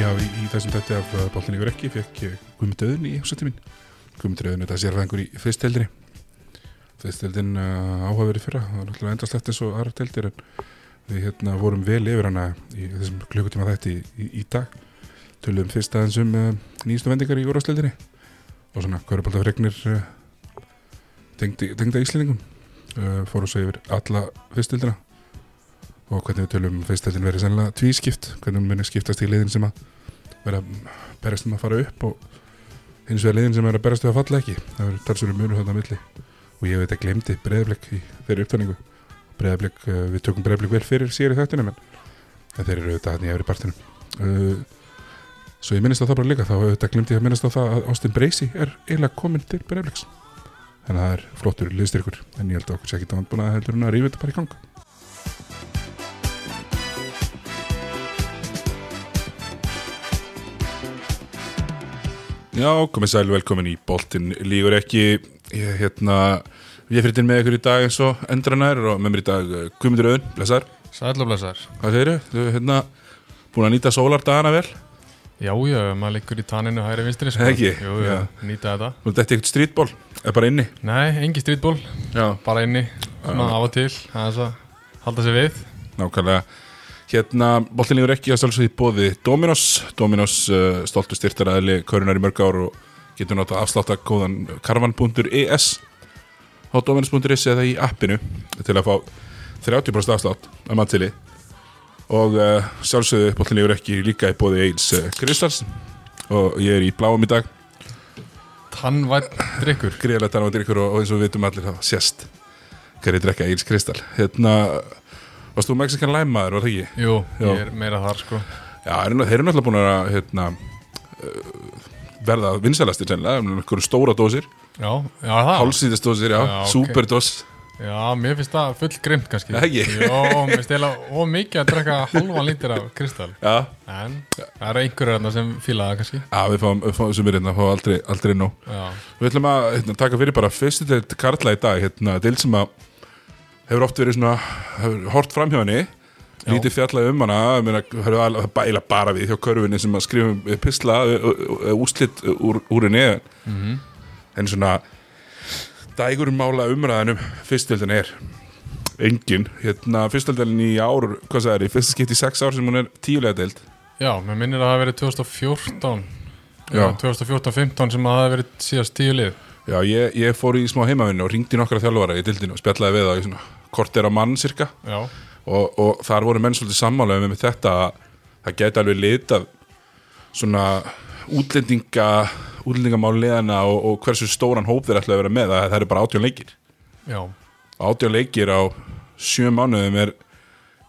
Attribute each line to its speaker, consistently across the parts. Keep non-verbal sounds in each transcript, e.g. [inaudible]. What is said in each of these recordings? Speaker 1: Já, í, í þessum þetta af uh, Bóltin ykkur ekki fekk Guðmundraðun í seti mín Guðmundraðun þetta sérfæðingur í fyrsteldri fyrsteldin uh, áhuga verið fyrra það var náttúrulega endast eftir svo aðra teldir en við hérna vorum vel yfir hana í þessum klukkutíma þætti í, í dag tölum fyrst aðeins um uh, nýjastu vendingar í úrvarsleldinni og svona hverjabaldafregnir uh, tengda, tengda Íslendingum uh, fórum svo yfir alla fyrsteldina og hvernig við tölum um fyrsteldin verið sennilega tvískipt hvernig hún muni skiptast í liðin sem að vera að berast um að fara upp og hins vegar liðin sem er að berast um að falla ekki það verður talsverður munur þarna á milli og ég veit að glemdi breyðblik í þeirri upptæningu breyðblik, við tökum breyðblik vel fyrir sér í þættinum en en þeir eru auðvitað hann í efri partinum uh, svo ég minnist á það bara líka þá auðvitað glemdi ég að minnast á það að Austin Bracey er eiginlega komin til breyðbliks þannig að það er flottur liðstyrkur en ég held að okkur sé ekki það vandbúna að heldur hún að rífa þetta bara í gang Já, komið sæl, velkomin í Boltin Lígur ekki, ég hérna Ég er fyrir til með ykkur í dag eins og endranær og með mér í dag uh, Guðmundur Öðun, blessar
Speaker 2: Sæll og blessar.
Speaker 1: Hvað segirðu? Þú er hérna búin að nýta sólardagana vel
Speaker 2: Já, já, ef maður liggur í tanninu hægri vinstri. Sko.
Speaker 1: Ekki?
Speaker 2: Jú, já,
Speaker 1: Já.
Speaker 2: nýta þetta.
Speaker 1: Nú dætti eitthvað strítból, er bara inni
Speaker 2: Nei, engi strítból,
Speaker 1: Já
Speaker 2: bara inni, svona af og til, aðeins að halda sér við.
Speaker 1: Nákvæmlega Hérna, Boltin Lígur ekki að sjálfsögði bóði Dominos Dominos, uh, stoltu styrtaræðli, körunar í mörg ár og getur nota afslátt að kóðan karvan.es E á dominos.is eða í appinu til að fá 30% afslátt að mattili og uh, sjálfsögðu Boltin Lígur ekki líka í bóði Eils uh, Kristals og ég er í bláum í dag
Speaker 2: Tannvætt drikkur.
Speaker 1: greiðlega tala á drikkur um og, og eins og við vitum allir þá sést hverju drekka Íls Kristall hérna, varst þú mexikan læmaður, var það ekki?
Speaker 2: Jú,
Speaker 1: Já.
Speaker 2: ég er meira þar, sko.
Speaker 1: Já, þeir eru þeir eru náttúrulega búin að hérna, uh, verða vinsælastir sennilega, um einhverjum stóra dósir
Speaker 2: Já, já, það.
Speaker 1: hálsýðist dósir, já,
Speaker 2: Já, ok.
Speaker 1: superdós
Speaker 2: Já, mér finnst það full grimt, kannski.
Speaker 1: Ekki?
Speaker 2: Jó, mér finnst eða ómikið að drekka halvan lítir af kristall.
Speaker 1: Já,
Speaker 2: En það eru einhverjur þarna sem fíla það, kannski.
Speaker 1: já við fáum, við fáum sumir hérna, fáum aldrei, aldrei nóg
Speaker 2: Já,
Speaker 1: Við ætlum að hérna, taka fyrir bara fyrstu deild Karla í dag, hérna, deild sem að hefur oft verið svona, hefur hort framhjá henni, lítið fjallað um hana, ég meina, það hefur al- það bæla bara við hjá körfunni sem að skrifum eh, pisla eh, eh, eh, úrslit úr, úr henni mm en svona um dægurmála umræðanum fyrstöldin er engin, hérna fyrstöldin í ár, hvað sagði, í fyrsta skipti í sex ár sem hún er tíulega deild
Speaker 2: já mér minnir að það hafi verið 2014.
Speaker 1: Já.
Speaker 2: 2014-15 sem að það hafi verið síðast tíu lið.
Speaker 1: Já, ég, ég fór í smá heimavinu og ringdi nokkra þjálfara í dildinu og spjallaði við það í svona korter á mann cirka
Speaker 2: Já.
Speaker 1: og, og þar voru menn svolítið sammálega með þetta að það gæti alveg litað svona útlendinga útlendingamáliðana og, og hversu stóran hóp þeir ætla að vera með að það eru bara átjón leikir
Speaker 2: Já,
Speaker 1: átjón leikir á sjö mánuðum er,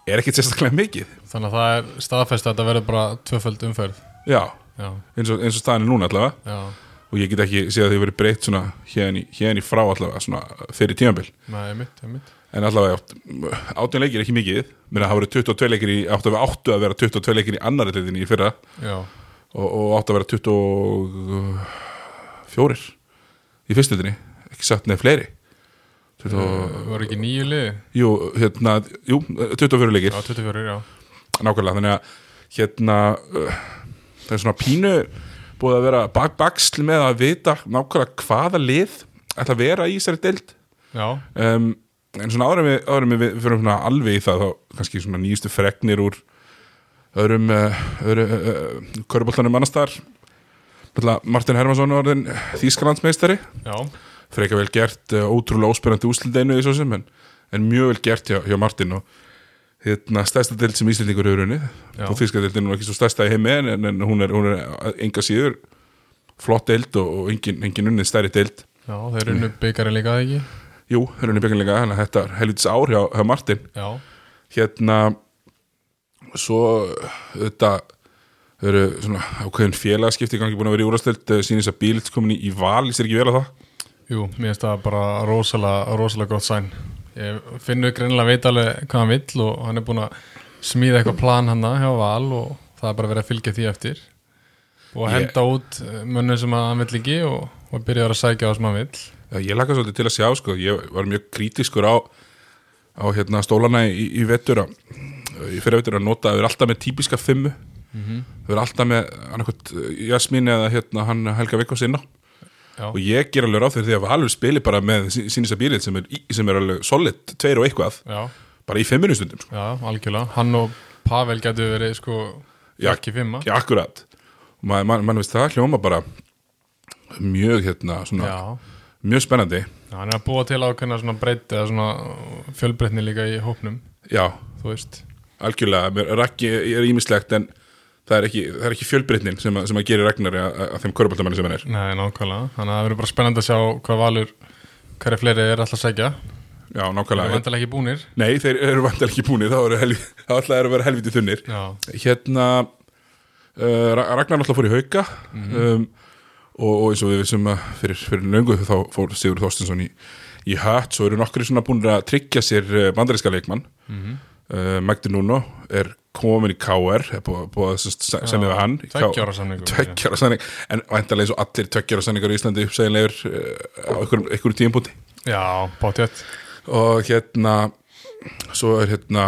Speaker 1: er ekkit sérstaklega mikið
Speaker 2: þannig að það er staðfest að þetta verður bara tvöföld umferð.
Speaker 1: já,
Speaker 2: Já,
Speaker 1: eins og, eins og staðan er núna allavega
Speaker 2: já,
Speaker 1: og ég get ekki séð að þau verið breytt svona hérna í, hérna í frá allavega svona fyrir tímabil
Speaker 2: nei, mitt, mitt.
Speaker 1: En allavega, átt- átján leikir er ekki mikið menn að það voru 22 leikir í, áttu að vera áttu að vera 22 leikir í annari leitinni í fyrra
Speaker 2: Já,
Speaker 1: og, og áttu að vera 24 í fyrstu leitinni, ekki satt nefn fleiri 20,
Speaker 2: það voru ekki nýju liði.
Speaker 1: jú, hérna, jú, 24 leikir
Speaker 2: Já, 24, já.
Speaker 1: nákvæmlega, þannig að hérna, uh, það er svona pínu búið að vera bak baksl með að vita nákvæmlega hvaða lið ætla að vera í þessari deild
Speaker 2: Já,
Speaker 1: um, en svona áður en við, áður en við fyrir svona alveg í það þá kannski svona nýjustu fregnir úr öðrum uh, öðru, uh, uh, köruboltanum annars þar Náttúrulega Martin Hermansson orðin Þýskalandsmeistari
Speaker 2: já,
Speaker 1: frekar vel gert, uh, ótrúlega óspennandi úslindeinu í svo sem, en, en mjög vel gert hjá, hjá Martin og hérna stærsta deild sem Íslendingur hefur unni
Speaker 2: Já.
Speaker 1: og þýska deildin er nú ekki svo stærsta í heimi en, en, en hún, er, hún er enga síður flott deild og, og engin, engin unnið stærri deild
Speaker 2: já, þeir eru nú byggari líka, eða ekki?
Speaker 1: Jú, hörunni bygginlega, þannig að þetta er helvitis ár hjá, hjá Martin
Speaker 2: Já,
Speaker 1: hérna svo þetta eru svona ákveðin félagskipti í gangi búin að vera í eh, úrastöld sínins að bílit komin í, í val, lýst þér ekki vel að það?
Speaker 2: jú, mér finnst það bara rosalega, rosalega gott sæn. Ég finnur greinilega veit alveg hvað hann vill og hann er búin að smíða eitthvað plan hann hjá Val og það er bara verið að fylgja því eftir og
Speaker 1: Ég-
Speaker 2: henda út eh, mönnum sem að hann vill ekki og, og byrja að sækja á sem hann vill.
Speaker 1: Já, Eh, Ég laka svolítið til að sjá, sko, ég var mjög krítiskur á, á hérna stólana í, í vetur að, í fyrir vetur að nota að vera alltaf með típiska fimmu þau eru alltaf með annarkot, Jasmín eða hérna, hann Helga Vikkos inn á
Speaker 2: Já.
Speaker 1: og ég ger alveg ráð fyrir því að Valur spili bara með sínisa bílið sem er, í- sem er alveg solid, tveir og eitthvað
Speaker 2: Já,
Speaker 1: bara í fimminu stundum sko.
Speaker 2: já, algjörlega Hann og Pavel getur verið sko
Speaker 1: Já.
Speaker 2: ekki fimma
Speaker 1: ekki akkurat og mann man, man veist það hljóma bara mjög hérna svona,
Speaker 2: Já,
Speaker 1: mjög spennandi
Speaker 2: Já, hann er að búa til ákveðna svona breytti eða svona fjölbreytni líka í hópnum
Speaker 1: já,
Speaker 2: þú veist,
Speaker 1: algjörlega, mér- Raggi er ímislegt en það er ekki, það er ekki fjölbreytnin sem, að- sem að gerir Ragnari að, að- að þeim körbáltamanni sem hann er
Speaker 2: nei, nákvæmlega þannig að það verður bara spennandi að sjá hvað valur hverja fleiri er alltaf að segja
Speaker 1: já,
Speaker 2: það er
Speaker 1: nákvæmlega,
Speaker 2: vantilega ekki búnir
Speaker 1: nei þeir eru vantar ekki búinir þá eru helvi, þá ætla þeir að vera helviti þunnir
Speaker 2: Já,
Speaker 1: hérna uh, Ra- Ragnar náttúrulega fór í hauka um, og, og eins og við vissum að fyrir, fyrir löngu þá fór Sigur Þorstinsson í, í hatt, svo eru nokkri svona búin að tryggja sér eh, bandaríska leikmann mm Magdi Nuno er komin í KR, er búið, búið að sem sagt se- semja við hann í K-
Speaker 2: tveggjara samningur
Speaker 1: tveggjara sannig, en væntalega eins og allir tveggjara sanningar í Íslandi uppsæðinlegur uh, á einhverjum, einhverjum tímpúti
Speaker 2: Já, bátjött
Speaker 1: og hérna svo er hérna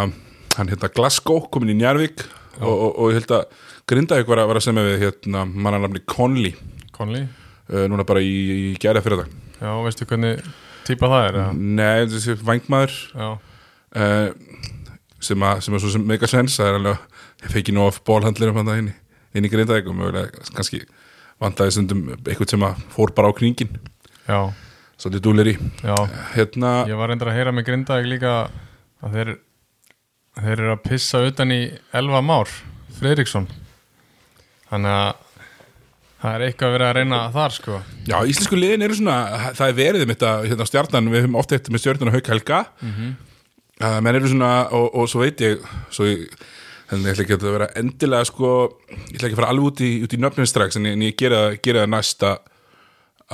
Speaker 1: hann hérna Glasgow komin í Njarvík og, og, og ég held að Grindavík var að, var að semja við hérna mannarnafni Conley
Speaker 2: Conley,
Speaker 1: uh, núna bara í, í gæra fyrir það
Speaker 2: já, veistu hvernig típa það er, mm.
Speaker 1: Nei, þessi vangmaður
Speaker 2: já
Speaker 1: uh, sem, að, sem er svo sem mega sens það er alveg, ég fekk í nóg af bólhandlirum hann inn, í- inn í Grindavík og mögulega kannski vandaði stundum eitthvað sem að fór bara á kringin
Speaker 2: Já,
Speaker 1: svolítið dúlir í
Speaker 2: já,
Speaker 1: hérna,
Speaker 2: ég var reyndar að heyra með Grindavík líka að þeir þeir eru að pissa utan í Elva Már, Fredriksson þannig að það er eitthvað að vera að reyna þar sko
Speaker 1: Já, íslensku liðin eru svona, það er verið um þetta, hérna stjarnan, við höfum ofta þetta með stjarnan og Hauk Helga, að menn eru svona, og, og svo veit ég, svo ég, þannig ég ætla ekki að vera endilega sko, ég ætla ekki að fara alveg út í, út í nöfnum strax, en ég, en ég gera, það- gera það næsta,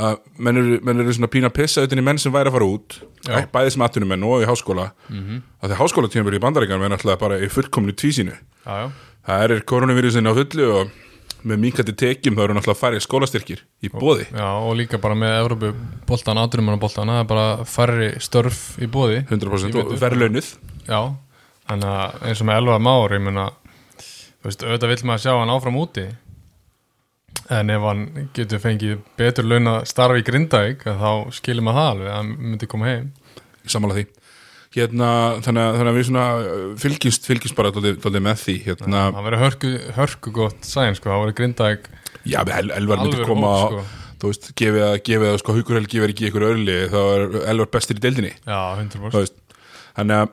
Speaker 1: að menn eru, menn eru svona pína að pissa utan í menn sem væri að fara út,
Speaker 2: Já.
Speaker 1: bæði sem atvinnumenn og í háskóla, að því háskóla tímur í bandaríkan er alltaf bara í fullkomnu tvísinu.
Speaker 2: Já, já,
Speaker 1: Það er koronavirusin á fullu og með minkandi tekjum þá eru náttúrulega færri skólastyrkir í bóði.
Speaker 2: já og líka bara með Evrópu boltan, aturumann boltan það er bara færri störf í bóði
Speaker 1: 100% og
Speaker 2: Í vetur.
Speaker 1: verðlaunuð
Speaker 2: Já, þannig að eins og með 11 már ég meina, þú veist, auðvitað vill maður sjá hann áfram úti en ef hann getur fengið betur launa starf í Grindavík að þá skilur maður það alveg að hann myndi koma heim
Speaker 1: samanlega því hérna, þannig, að, þannig að við svona uh, fylgjumst, fylgjumst bara dálítið dálítið með því hérna,
Speaker 2: það verður hörku, hörku gott sæn sko, það verður Grindavík
Speaker 1: já, við El- Elvar myndi
Speaker 2: Alvöru
Speaker 1: koma
Speaker 2: hóp,
Speaker 1: og,
Speaker 2: sko.
Speaker 1: þú veist, gefið að gefið að sko Haukur Helgi verið ekki ykkur örli þá er Elvar bestur í deildinni
Speaker 2: já,
Speaker 1: þú
Speaker 2: 100%
Speaker 1: veist, þannig að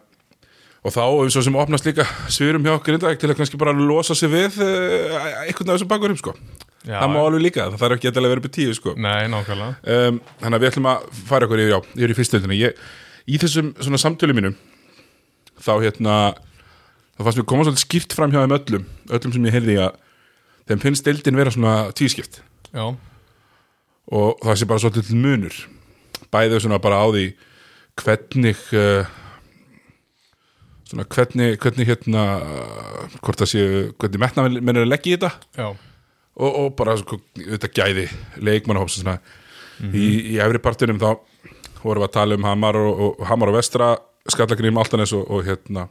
Speaker 1: og þá, svo sem opnast líka svirum hjá Grindavík til að kannski bara losa sig við uh, einhvern af þessum bakurum, sko
Speaker 2: já,
Speaker 1: það má alveg líka, það þarf ekki að vera upp í tíu, sko
Speaker 2: Nei, nákvæmlega
Speaker 1: um, þannig að við ætlum að fara okkur yfir, já, yfir í fyrstöldina ég, í þessum svona samtölu mínum þá hérna þá fannst mér koma svolítið skýrt fram hjá þeim öllum öllum sem ég heyrði í að þeim finnst deildin vera svona tvískipt
Speaker 2: Já,
Speaker 1: og það sé bara svolítið munur bæðið svona bara á því hvernig uh, svona hvernig, hvernig hérna uh, hvort það séu, hvernig metna menn er að leggja í þetta
Speaker 2: já,
Speaker 1: og, og bara sko, auðvitað gæði leikmannahóps og svona. í, í efri partinum þá vorum við að tala um Hamar og, og, Hamar og Vestra Skallagrím, Altanes og, og hérna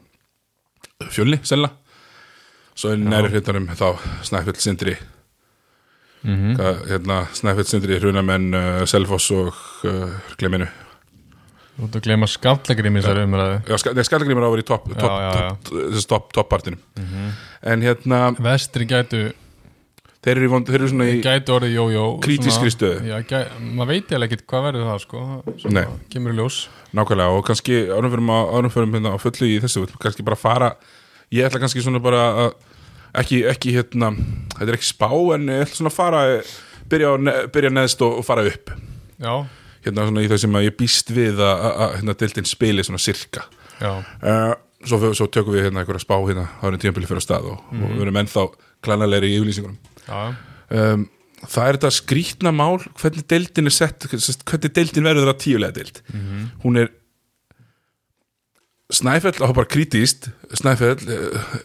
Speaker 1: Fjölni, sennilega svo í næri hlutunum þá Snæfell Sindri
Speaker 2: Mhm.
Speaker 1: Hvað, hérna, Snæfell Sindri, Hrunamenn uh, Selfoss og uh, gleminu
Speaker 2: þú ert að gleyma skallagrim í þessari umræðu
Speaker 1: já, Ska- nei, Skallagrím er á að vera í topp top, top,
Speaker 2: já, já. Mhm.
Speaker 1: top, top, top partinum en hérna,
Speaker 2: Vestri gætu,
Speaker 1: þeir eru, í vond, þeir eru svona í
Speaker 2: gætu orðið jójó
Speaker 1: Krítískri stöðu.
Speaker 2: Já, gæ, maður veit ég ekkert hvað verður það sko Svo
Speaker 1: Nei.
Speaker 2: Kemur í ljós
Speaker 1: Nákvæmlega og kannski ánumförum á, ánumförum hérna á fullu í þessu, við ætlum kannski bara að fara ég ætla kannski svona bara að ekki, ekki hérna, þetta er ekki spá en ég ætla svona að fara byrja, á ne- byrja neðst og, og fara upp
Speaker 2: Já,
Speaker 1: hérna svona í þau sem að ég býst við að, að, að hérna deildin spili svona sirka
Speaker 2: já,
Speaker 1: uh, svo, fer- svo tökum við hérna einhverja spá hérna árið tíðanbili fyrir á stað og, og við erum ennþá klanalegri í yfirlýsingunum
Speaker 2: já,
Speaker 1: um, það er þetta skrýtna mál hvernig deildin er
Speaker 2: Mhm.
Speaker 1: sett sem sagt, hvernig deildin verður að tíulega deild hún er Snæfell á bara kritíst Snæfell,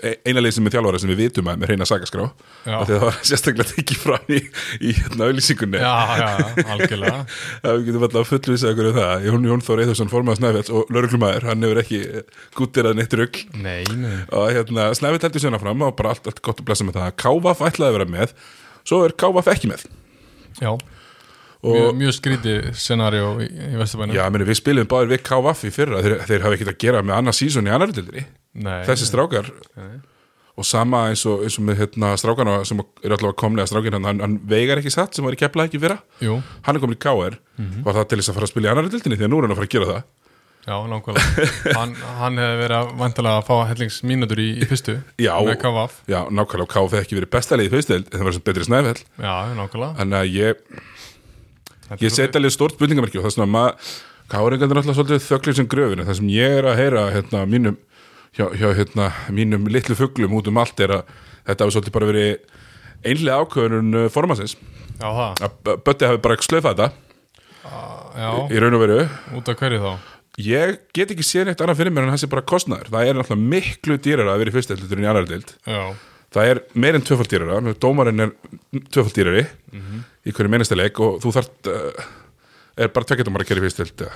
Speaker 1: eh, eina leysið með þjálfara sem við vitum að með reyna sagaskrá
Speaker 2: Já.
Speaker 1: af því að það var sérstaklega tekið fram í, í hérna auðlýsingunni
Speaker 2: já,
Speaker 1: [laughs]
Speaker 2: já, algjörlega
Speaker 1: að við getum alltaf fullvisað ykkur um það Jón Jón Þór Eithusson, formaður Snæfells og lauruglumæður, hann hefur ekki eh, gúttirað neitt rugg
Speaker 2: Nei, nei,
Speaker 1: og hérna, Snæfell heldur sérna fram og bara allt, allt gott að blessa með það Kávaf ætlaði að vera með, svo er Kávaf ekki með
Speaker 2: já
Speaker 1: og
Speaker 2: Mjög, mjög skrítið scenario í, í Vesturbænum
Speaker 1: já, meni, við spilum báðir við Kávaf í fyrra þeir, þeir hafa ekkert að gera með annað sísón í annar dildri
Speaker 2: Nei,
Speaker 1: þessi strákar
Speaker 2: Nei.
Speaker 1: og sama eins og, eins og með hérna, strákana sem eru allavega komlega strákin hann, hann veigar ekki satt sem var í kepla ekki fyrra
Speaker 2: jú,
Speaker 1: hann er komin í KR,
Speaker 2: Mhm.
Speaker 1: var það til þess að fara að spila í annar dildinni því að nú er hann að fara að gera það
Speaker 2: já,
Speaker 1: [laughs]
Speaker 2: nákvæmlega Hann, hann hefði verið að vantilega að fá hellings mínútur í, í fyrstu
Speaker 1: Já.
Speaker 2: Með kavaf,
Speaker 1: Já, nákvæmlega, og KF hefði ekki verið besta liðið fyrstild en það var sem betri snæfell
Speaker 2: já, nákvæmlega
Speaker 1: Þannig að ég,
Speaker 2: Þetta er
Speaker 1: ég seti alveg stort bundingamerki og það er svona maður Káringarnir er alltaf svolítið þöglir sem gröfinu það sem ég er að heyra hérna, mínum, hjá, hjá, hérna, mínum litlu fuglum út um allt er að þetta hafi svolítið bara verið einlega ákveðunum formasins
Speaker 2: svolítið- Já, það,
Speaker 1: að B- Böddi hafi bara slöfað þetta
Speaker 2: já,
Speaker 1: í raun og veru
Speaker 2: út af hverju þá
Speaker 1: Ég get ekki séð neitt annað fyrir mér en hans er bara kostnaður það er náttúrulega miklu dýrara að vera í fyrstild en í annar dild
Speaker 2: Já,
Speaker 1: það er meir en tvöfald dýrara menn dómarinn er tvöfald dýrari í hverju meinestuleik og þú þart uh, er bara tvekkitumar að gera í fyrstild uh,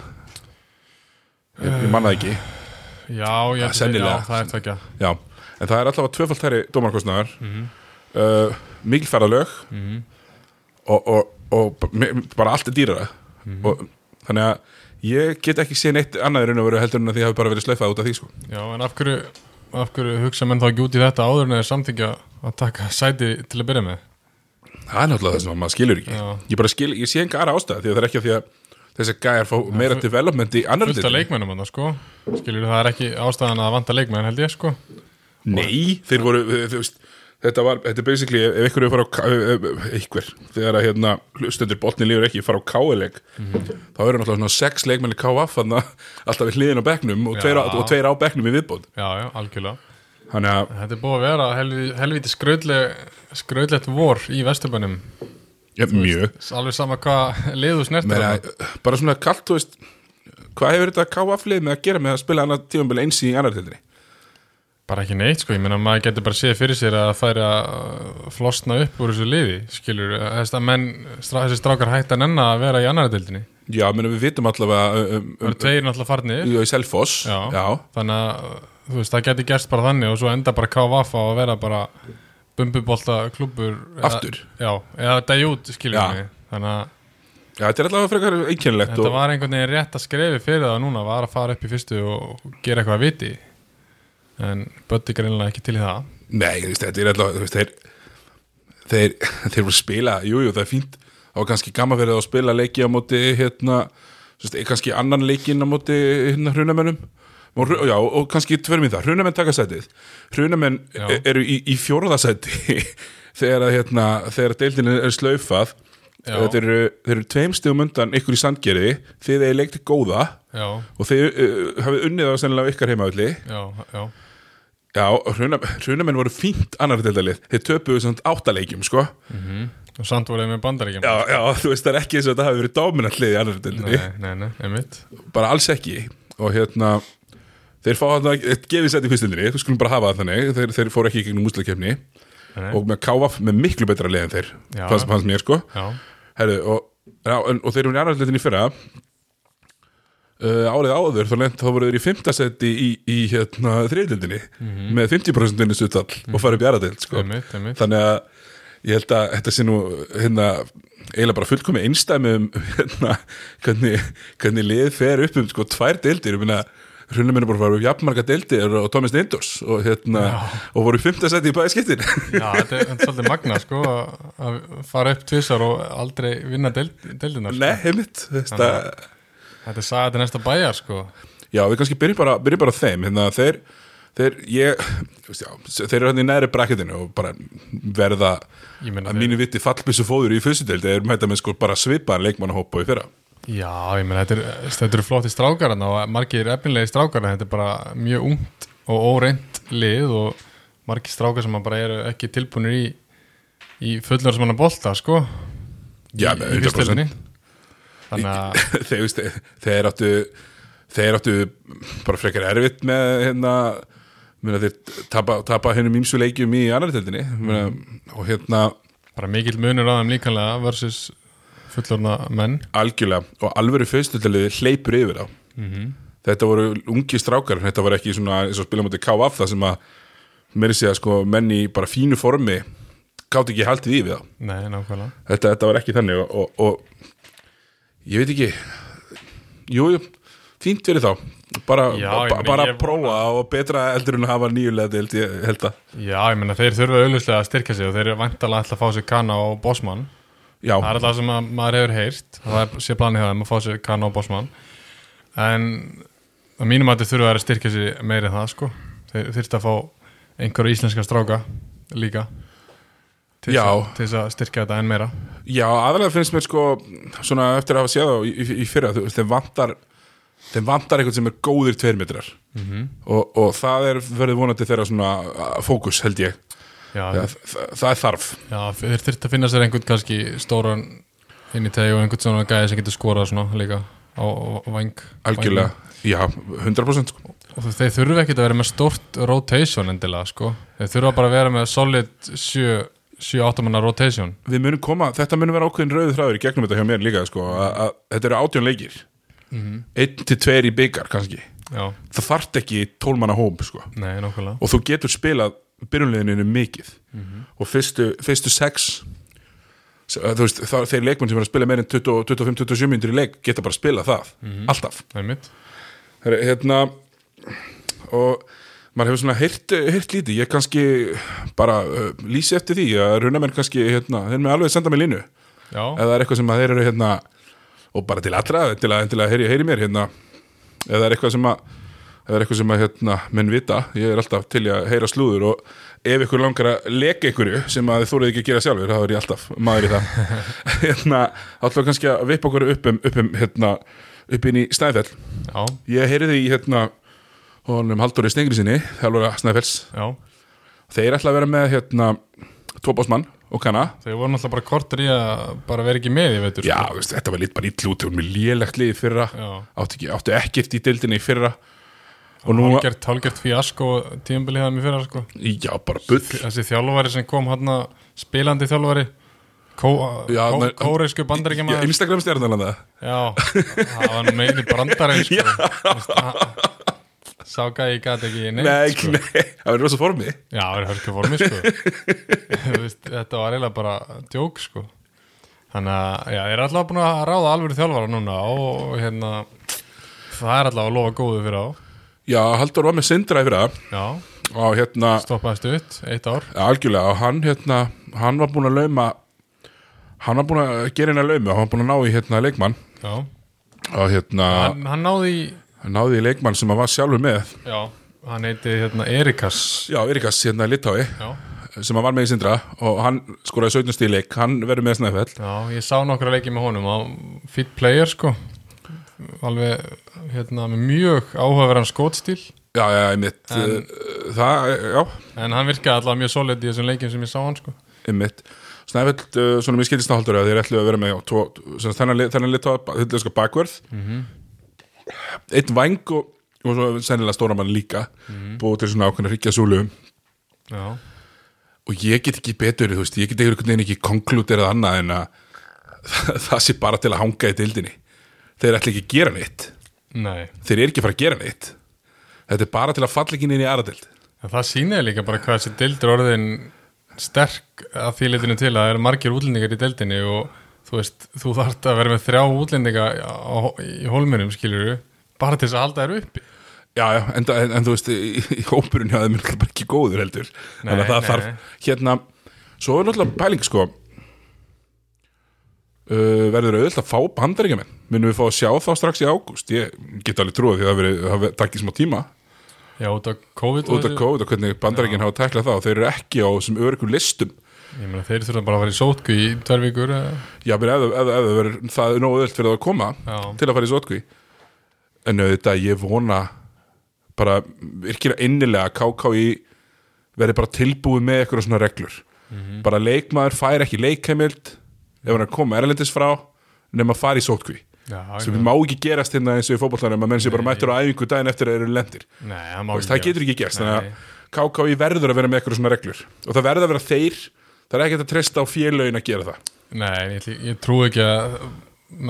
Speaker 1: ég, ég manna ekki
Speaker 2: já, ég ætla að segja,
Speaker 1: sennilega.
Speaker 2: já, það er tvekja
Speaker 1: já, en það er allavega tvöfald þærri dómarkostnaðar mm -hmm. uh, mikil ferðalög og, og, og b- mi- bara allt er dýrara og þannig að ég get ekki séð neitt annað í raun og veru heldur en að því hafi bara verið slaufað út af því sko.
Speaker 2: Já, en af hverju, af hverju hugsa menn þá ekki út í þetta áður en þeir samþykja að taka sæti til að byrja með?
Speaker 1: það er náttúrulega það sem maður skilur ekki
Speaker 2: Já.
Speaker 1: ég bara skil, ég sé enga aðra ástæða því að það er ekki að því að þessi gæjar fá meira development í annar
Speaker 2: Fullt af
Speaker 1: deildinni.
Speaker 2: leikmennum hann, sko. Skilur það er ekki ástæðan að vanta leikmenn, held ég, sko.
Speaker 1: Nei, þeir voru þú veist, þetta var, þetta er basically ef ef ykkur er að fara á K- ef- ef- einhver, þegar að hérna stundir botni lífur ekki, fara á káileg
Speaker 2: Mhm.
Speaker 1: þá eru náttúrulega svona sex leikmenni KF þarna, [laughs] alltaf við hliðin á bekknum og tveir, á-
Speaker 2: Já.
Speaker 1: og tveir á bekknum í viðbót
Speaker 2: Já, já, algjörlega.
Speaker 1: þannig að,
Speaker 2: Þetta er búið að vera helvi, helviti skrautleg, skrautlegt vor í Vesturbænum.
Speaker 1: ja, mjög
Speaker 2: Alveg sama hvað liðu snertir.
Speaker 1: Meina,
Speaker 2: þarna.
Speaker 1: bara svona kalt, þú veist hvað hefur þetta KF lið með að gera með að spila annar tífumbil eins í annar tildri?
Speaker 2: Bara ekki neitt, sko. Ég meina, maður getur bara séð fyrir sér að það er að flosna upp úr þessu liði, skilur. Þess að menn, strá, þessi strákar hægt að nenna að vera í annara deildinni.
Speaker 1: Já, menn við vitum allavega um,
Speaker 2: Það
Speaker 1: um,
Speaker 2: eru tveir náttúrulega farnir.
Speaker 1: Já, í Selfoss
Speaker 2: Já.
Speaker 1: Já.
Speaker 2: þannig að þú veist, það geti gerst bara þannig og svo enda bara KVF á að vera bara bumbubolta klubur
Speaker 1: Aftur.
Speaker 2: já, eða dæjút
Speaker 1: Já.
Speaker 2: skiljum við þannig að
Speaker 1: Já, þetta er allavega frekar einkennilegt
Speaker 2: þetta
Speaker 1: og,
Speaker 2: var einhvern veginn rétt að skrefi fyrir það núna var að fara upp í fyrstu og gera eitthvað að viti en Böddi greinlega ekki til í það
Speaker 1: Nei, þú veist, þetta er allavega þú veist, þeir, þeir, [laughs] þeir voru að spila Jú, jú, það er fínt Það var kannski gaman fyrir þá að spila leiki á móti hérna, þú veist, kannski annan leikin á móti hérna hrunamennum og, hru- já, og kannski tverum í það, hrunamenn taka sætið hrunamenn
Speaker 2: Já.
Speaker 1: e- eru í, í fjórðasæti [laughs] þegar að hérna, þegar deildin er slaufað
Speaker 2: Já.
Speaker 1: þeir eru, þeir eru tveim stegum undan ykkur í sandgerði, þið er leikti góða
Speaker 2: já,
Speaker 1: og þeir uh, hafið unnið á sennilega á ykkar heimavalli
Speaker 2: já, já,
Speaker 1: Já, hruna- hrunamenn voru fínt annar deildalið, þeir töpuðu samt áttaleikjum sko.
Speaker 2: Mm. og samt voruð með bandaríkjum
Speaker 1: já, já, þú veist það er ekki eins og þetta hafi verið dominant lið í annar deildinni,
Speaker 2: nei, nei, nei, einmitt
Speaker 1: bara alls ekki og hérna þeir fá þarna, eitt gefið sætt í fyrstundinni þú skulum bara hafa það þannig, þeir, þeir fóru ekki í gegnum úslakefni
Speaker 2: Nei.
Speaker 1: og með KVF með miklu betra lið en þeir,
Speaker 2: Já.
Speaker 1: fannst, fannst mér sko
Speaker 2: já,
Speaker 1: Herðu, og, já, en, og þeir eru í annar deildinni í fyrra Uh, árið áður, þá, lent, þá voru þeir í fymtasetti í, í hérna, þriðdeldinni með 50% stuttall og farið upp í aðradeld sko.
Speaker 2: Mhm. einmitt, einmitt
Speaker 1: þannig að ég held að þetta sé nú hérna, eiginlega bara fullkomi einstæmi um hérna, hvernig, hvernig lið fer upp um sko tvær deildir ég meina hrunum minni bara var jafnmarga deildir og Thomas Neindors og, hérna, og voru í fymta seti í bæði skiptin
Speaker 2: Já, þetta er, þetta er svolítið magna sko að að fara upp tvisar og aldrei vinna deild, deildina
Speaker 1: [laughs]
Speaker 2: sko.
Speaker 1: Nei, heimitt þetta,
Speaker 2: Þetta er saga til næsta bæjar sko
Speaker 1: Já, við kannski byrjum bara, byrjum bara á þeim hérna, þeir, þeir, ég þú veist, já, þeir eru hann í næri brakketinu og bara verða
Speaker 2: Ég meina
Speaker 1: að
Speaker 2: þeir-
Speaker 1: mínu viti fallbissu fóður í fyrstu deildi er mæta með sko bara svipaðan leikmannahópa í fyrra
Speaker 2: Já, ég meina þetta er- þetta eru flotti strákarna og margir efnilegi strákarna þetta er bara mjög ungt og óreint lið og margir strákar sem að bara eru ekki tilbúinir í í fullar sem hann að bolta sko
Speaker 1: Já,
Speaker 2: í,
Speaker 1: með
Speaker 2: í
Speaker 1: 100%. [laughs]
Speaker 2: fyrstildinni Þannig að
Speaker 1: þeir, veist, þeir áttu þeir áttu bara frekar erfitt með hérna myrna, þeir tapa, tapa hennum ímsu leikjum í annar tildinni myrna, og hérna
Speaker 2: bara mikill munur á þeim líkanlega versus fullorna menn
Speaker 1: algjörlega og alvöru fyrstutaliði hleypur yfir á
Speaker 2: Mhm.
Speaker 1: þetta voru ungi strákar þetta var ekki svona eins og spila mútið KF það sem að meiri segja sko menn í bara fínu formi gátt ekki haldið í við þá
Speaker 2: nei, nákvæmlega
Speaker 1: þetta, þetta var ekki þannig og, og, og ég veit ekki jú, jú, fínt fyrir þá bara,
Speaker 2: Já, ég
Speaker 1: ba
Speaker 2: meina,
Speaker 1: bara
Speaker 2: ég-
Speaker 1: prófa og betra eldur en að hafa nýjulega deild ég held að
Speaker 2: já, ég menna þeir þurfa auðvitað að styrka sig og þeir eru vantala að fá sér Kana og Bosman
Speaker 1: já,
Speaker 2: það er alltaf sem að maður hefur heyrt það er sé planið hjá þeim að fá sér Kana og Bosman en að mínum að þeir þurfa að styrka sig meira en það sko þeir þurft að fá einhverju íslenska stráka líka til þess
Speaker 1: Já.
Speaker 2: að- til þess að styrka þetta enn meira
Speaker 1: já aðalega finnst mér sko svona eftir að hafa séð þá í, í, í fyrra þú veist, þeim vantar þeim vantar eitthvað sem er góðir tveirmetrar mm
Speaker 2: Mhm.
Speaker 1: -hmm. og, og það er verið vonandi þeirra svona a- fókus held ég
Speaker 2: já,
Speaker 1: það, það, það er þarf
Speaker 2: Já, þeir þurft að finna sér einhvern kannski stóran inn í tegi og einhvern svona gæði sem getur skorað svona líka á á væng
Speaker 1: algjörlega, já, 100% sko.
Speaker 2: væng. Og þeir þurfa ekkert að vera með stórt rotation endilega, sko Þeir þurfa bara að vera með solid 7-8 manna rotation
Speaker 1: við munum koma, þetta munum vera ákveðin rauðu þráður í gegnum þetta hjá mér líka sko, að, að þetta eru átjón leikir
Speaker 2: Mhm.
Speaker 1: einn til tveir í byggar kannski
Speaker 2: Já,
Speaker 1: það þarft ekki tólmanna hóp sko.
Speaker 2: nei, nokkulega
Speaker 1: og þú getur spilað byrjunlegininu mikið og fyrstu, fyrstu sex s- þú veist, það, þeir leikmenn sem er að spila meir en 25-27 myndir í leik geta bara að spila það, alltaf
Speaker 2: Það er mitt
Speaker 1: Það er, hérna og maður hefur svona heyrt, heyrt lítið, ég kannski bara uh, lýsi eftir því að runamenn kannski, hérna, þeir með alveg senda mig línu
Speaker 2: Já,
Speaker 1: ef það er eitthvað sem að þeir eru hérna og bara til allra, til að, til að heyri, heyri mér hérna, ef það er eitthvað sem að ef það er eitthvað sem að hérna, menn vita ég er alltaf til í að heyra slúður og ef ykkur langar að leka ykkurju sem að þið þórið ekki að gera sjálfur, þá er ég alltaf maður í það, hérna alltaf kannski að vippa okkur upp um, upp um hérna, upp inn í Snæfell
Speaker 2: já,
Speaker 1: ég heyriði í hérna honum Halldóri Stengri sinni, þjálfur Snæfells
Speaker 2: já
Speaker 1: þeir ætla að vera með hérna Tóbásmann og Kana
Speaker 2: Þeir voru náttúrulega bara kortur í að bara vera ekki með í veitur
Speaker 1: Já, þú veist, þetta var lítið bara ítl út og mjög lélegt liðið fyrra
Speaker 2: Já.
Speaker 1: áttu, ekki, áttu ekkert í deildinni í fyrra og nú,
Speaker 2: Hálgert, hálgert fíasko tíðanbilið það mér fyrir sko
Speaker 1: já, bara bull
Speaker 2: þessi þjálfari sem kom hann spilandi þjálfari kó,
Speaker 1: Já,
Speaker 2: kó,
Speaker 1: nei,
Speaker 2: kóreisku
Speaker 1: Já,
Speaker 2: bandaríkjamaður
Speaker 1: Instagram stjarnalanda
Speaker 2: já, það var nú meini brandarinn sko. Vist, að- sá gæði ég gæti ekki neitt
Speaker 1: Nei,
Speaker 2: sko.
Speaker 1: nei, það verður rosa formi
Speaker 2: já, það var hörku formi sko. [laughs] Vist, þetta var eiginlega bara djók sko. þannig að já, ég er alltaf búin að ráða alveg þjálfara núna og hérna það er alltaf að lofa góðu fyrir á
Speaker 1: Já, Halldór var með Sindra í fyrra
Speaker 2: já,
Speaker 1: og hérna,
Speaker 2: stoppaði stutt, eitt ár
Speaker 1: algjörlega og hann, hérna, hann var búin að lauma hann var búin að gera henni að lauma hann var búin að ná í hérna leikmann
Speaker 2: já.
Speaker 1: og hérna,
Speaker 2: Hann, hann náði í
Speaker 1: náði í leikmann sem hann var sjálfur með
Speaker 2: já, hann heiti hérna Erikas
Speaker 1: Já, Erikas, hérna Litái
Speaker 2: já
Speaker 1: sem hann var með í Sindra og hann skoraði 17 stíð leik, hann verður með Snæfell
Speaker 2: Já, ég sá nokkra leikið með honum á fit player sko alveg hérna með mjög áhugaverðan skótstíl
Speaker 1: Já, já, einmitt en, Það, já,
Speaker 2: en hann virkaði alltaf mjög solid í þessum leikim sem ég sá hann sko
Speaker 1: einmitt Snæfell, uh, svona mér skildist náhaldur að þeir ætlu að vera með já, tvo, sem sagt, þennan, li- þennan lit á þetta sko bakvörð Eitt væng og, og svo sennilega stóra mann líka búið til svona ákveðna ríkja súlu
Speaker 2: Já,
Speaker 1: og ég get ekki betur, þú veist, ég get einhvern veginn ekki konkluderað annað en að [laughs] það sé bara til að hanga í deildinni Þeir ætla ekki að gera neitt
Speaker 2: nei
Speaker 1: Þeir eru ekki að fara að gera neitt Þetta er bara til að falla ekki inn í aðra deild
Speaker 2: en það sýnaði líka bara hvað þessi deildur orðin sterk að því leitinu til að það eru margir útlendingar í deildinni og þú veist, þú þarft að vera með þrjá útlendinga á, í holminum skilur bara til þess að halda þér uppi
Speaker 1: Já, já, en, en, en þú veist, í, í hópurinn hjá þeim er náttúrulega bara ekki góður heldur
Speaker 2: Nei,
Speaker 1: Þannig að það
Speaker 2: nei, nei.
Speaker 1: þarf, hérna Svo er náttúrulega pæling, sko uh, Verður auðvitað að fá bandaríkjamenn Munum við fá að sjá þá strax í ágúst Ég get alveg trúið því að það verið- það verið takkið smá tíma
Speaker 2: Já, út af COVID og
Speaker 1: Út af
Speaker 2: þessu.
Speaker 1: COVID og hvernig bandaríkjamenn hafa tæklað það og Þeir eru ekki á þessum örgum listum
Speaker 2: Ég meina, þeir þurfa bara að vera í sótku í tvær vikur eða-
Speaker 1: Já, menn, ef, ef, ef, ef, ef það er nógu öðvöld fyrir það að koma
Speaker 2: Já.
Speaker 1: Til að fara í sótkví En auðvitað, ég vona Bara virkilega innilega að KKI verði bara tilbúið með eitthvað svona reglur
Speaker 2: Mhm.
Speaker 1: Bara leikmaður fær ekki leikheimild Ef hann er að koma erlendis frá Nefn að fara í sótkví
Speaker 2: Já,
Speaker 1: sem má ekki gerast hérna eins og í fótbollanum að menn sé bara mættur á æfingu daginn eftir að þeir eru lendir
Speaker 2: Nei, það má
Speaker 1: það getur ekki gerst þannig
Speaker 2: Nei.
Speaker 1: að KKI verður að vera með eitthvað svona reglur og það verður að vera þeir það er ekkert að treysta á félögin að gera það
Speaker 2: Nei, ég, ætli- ég trú ekki að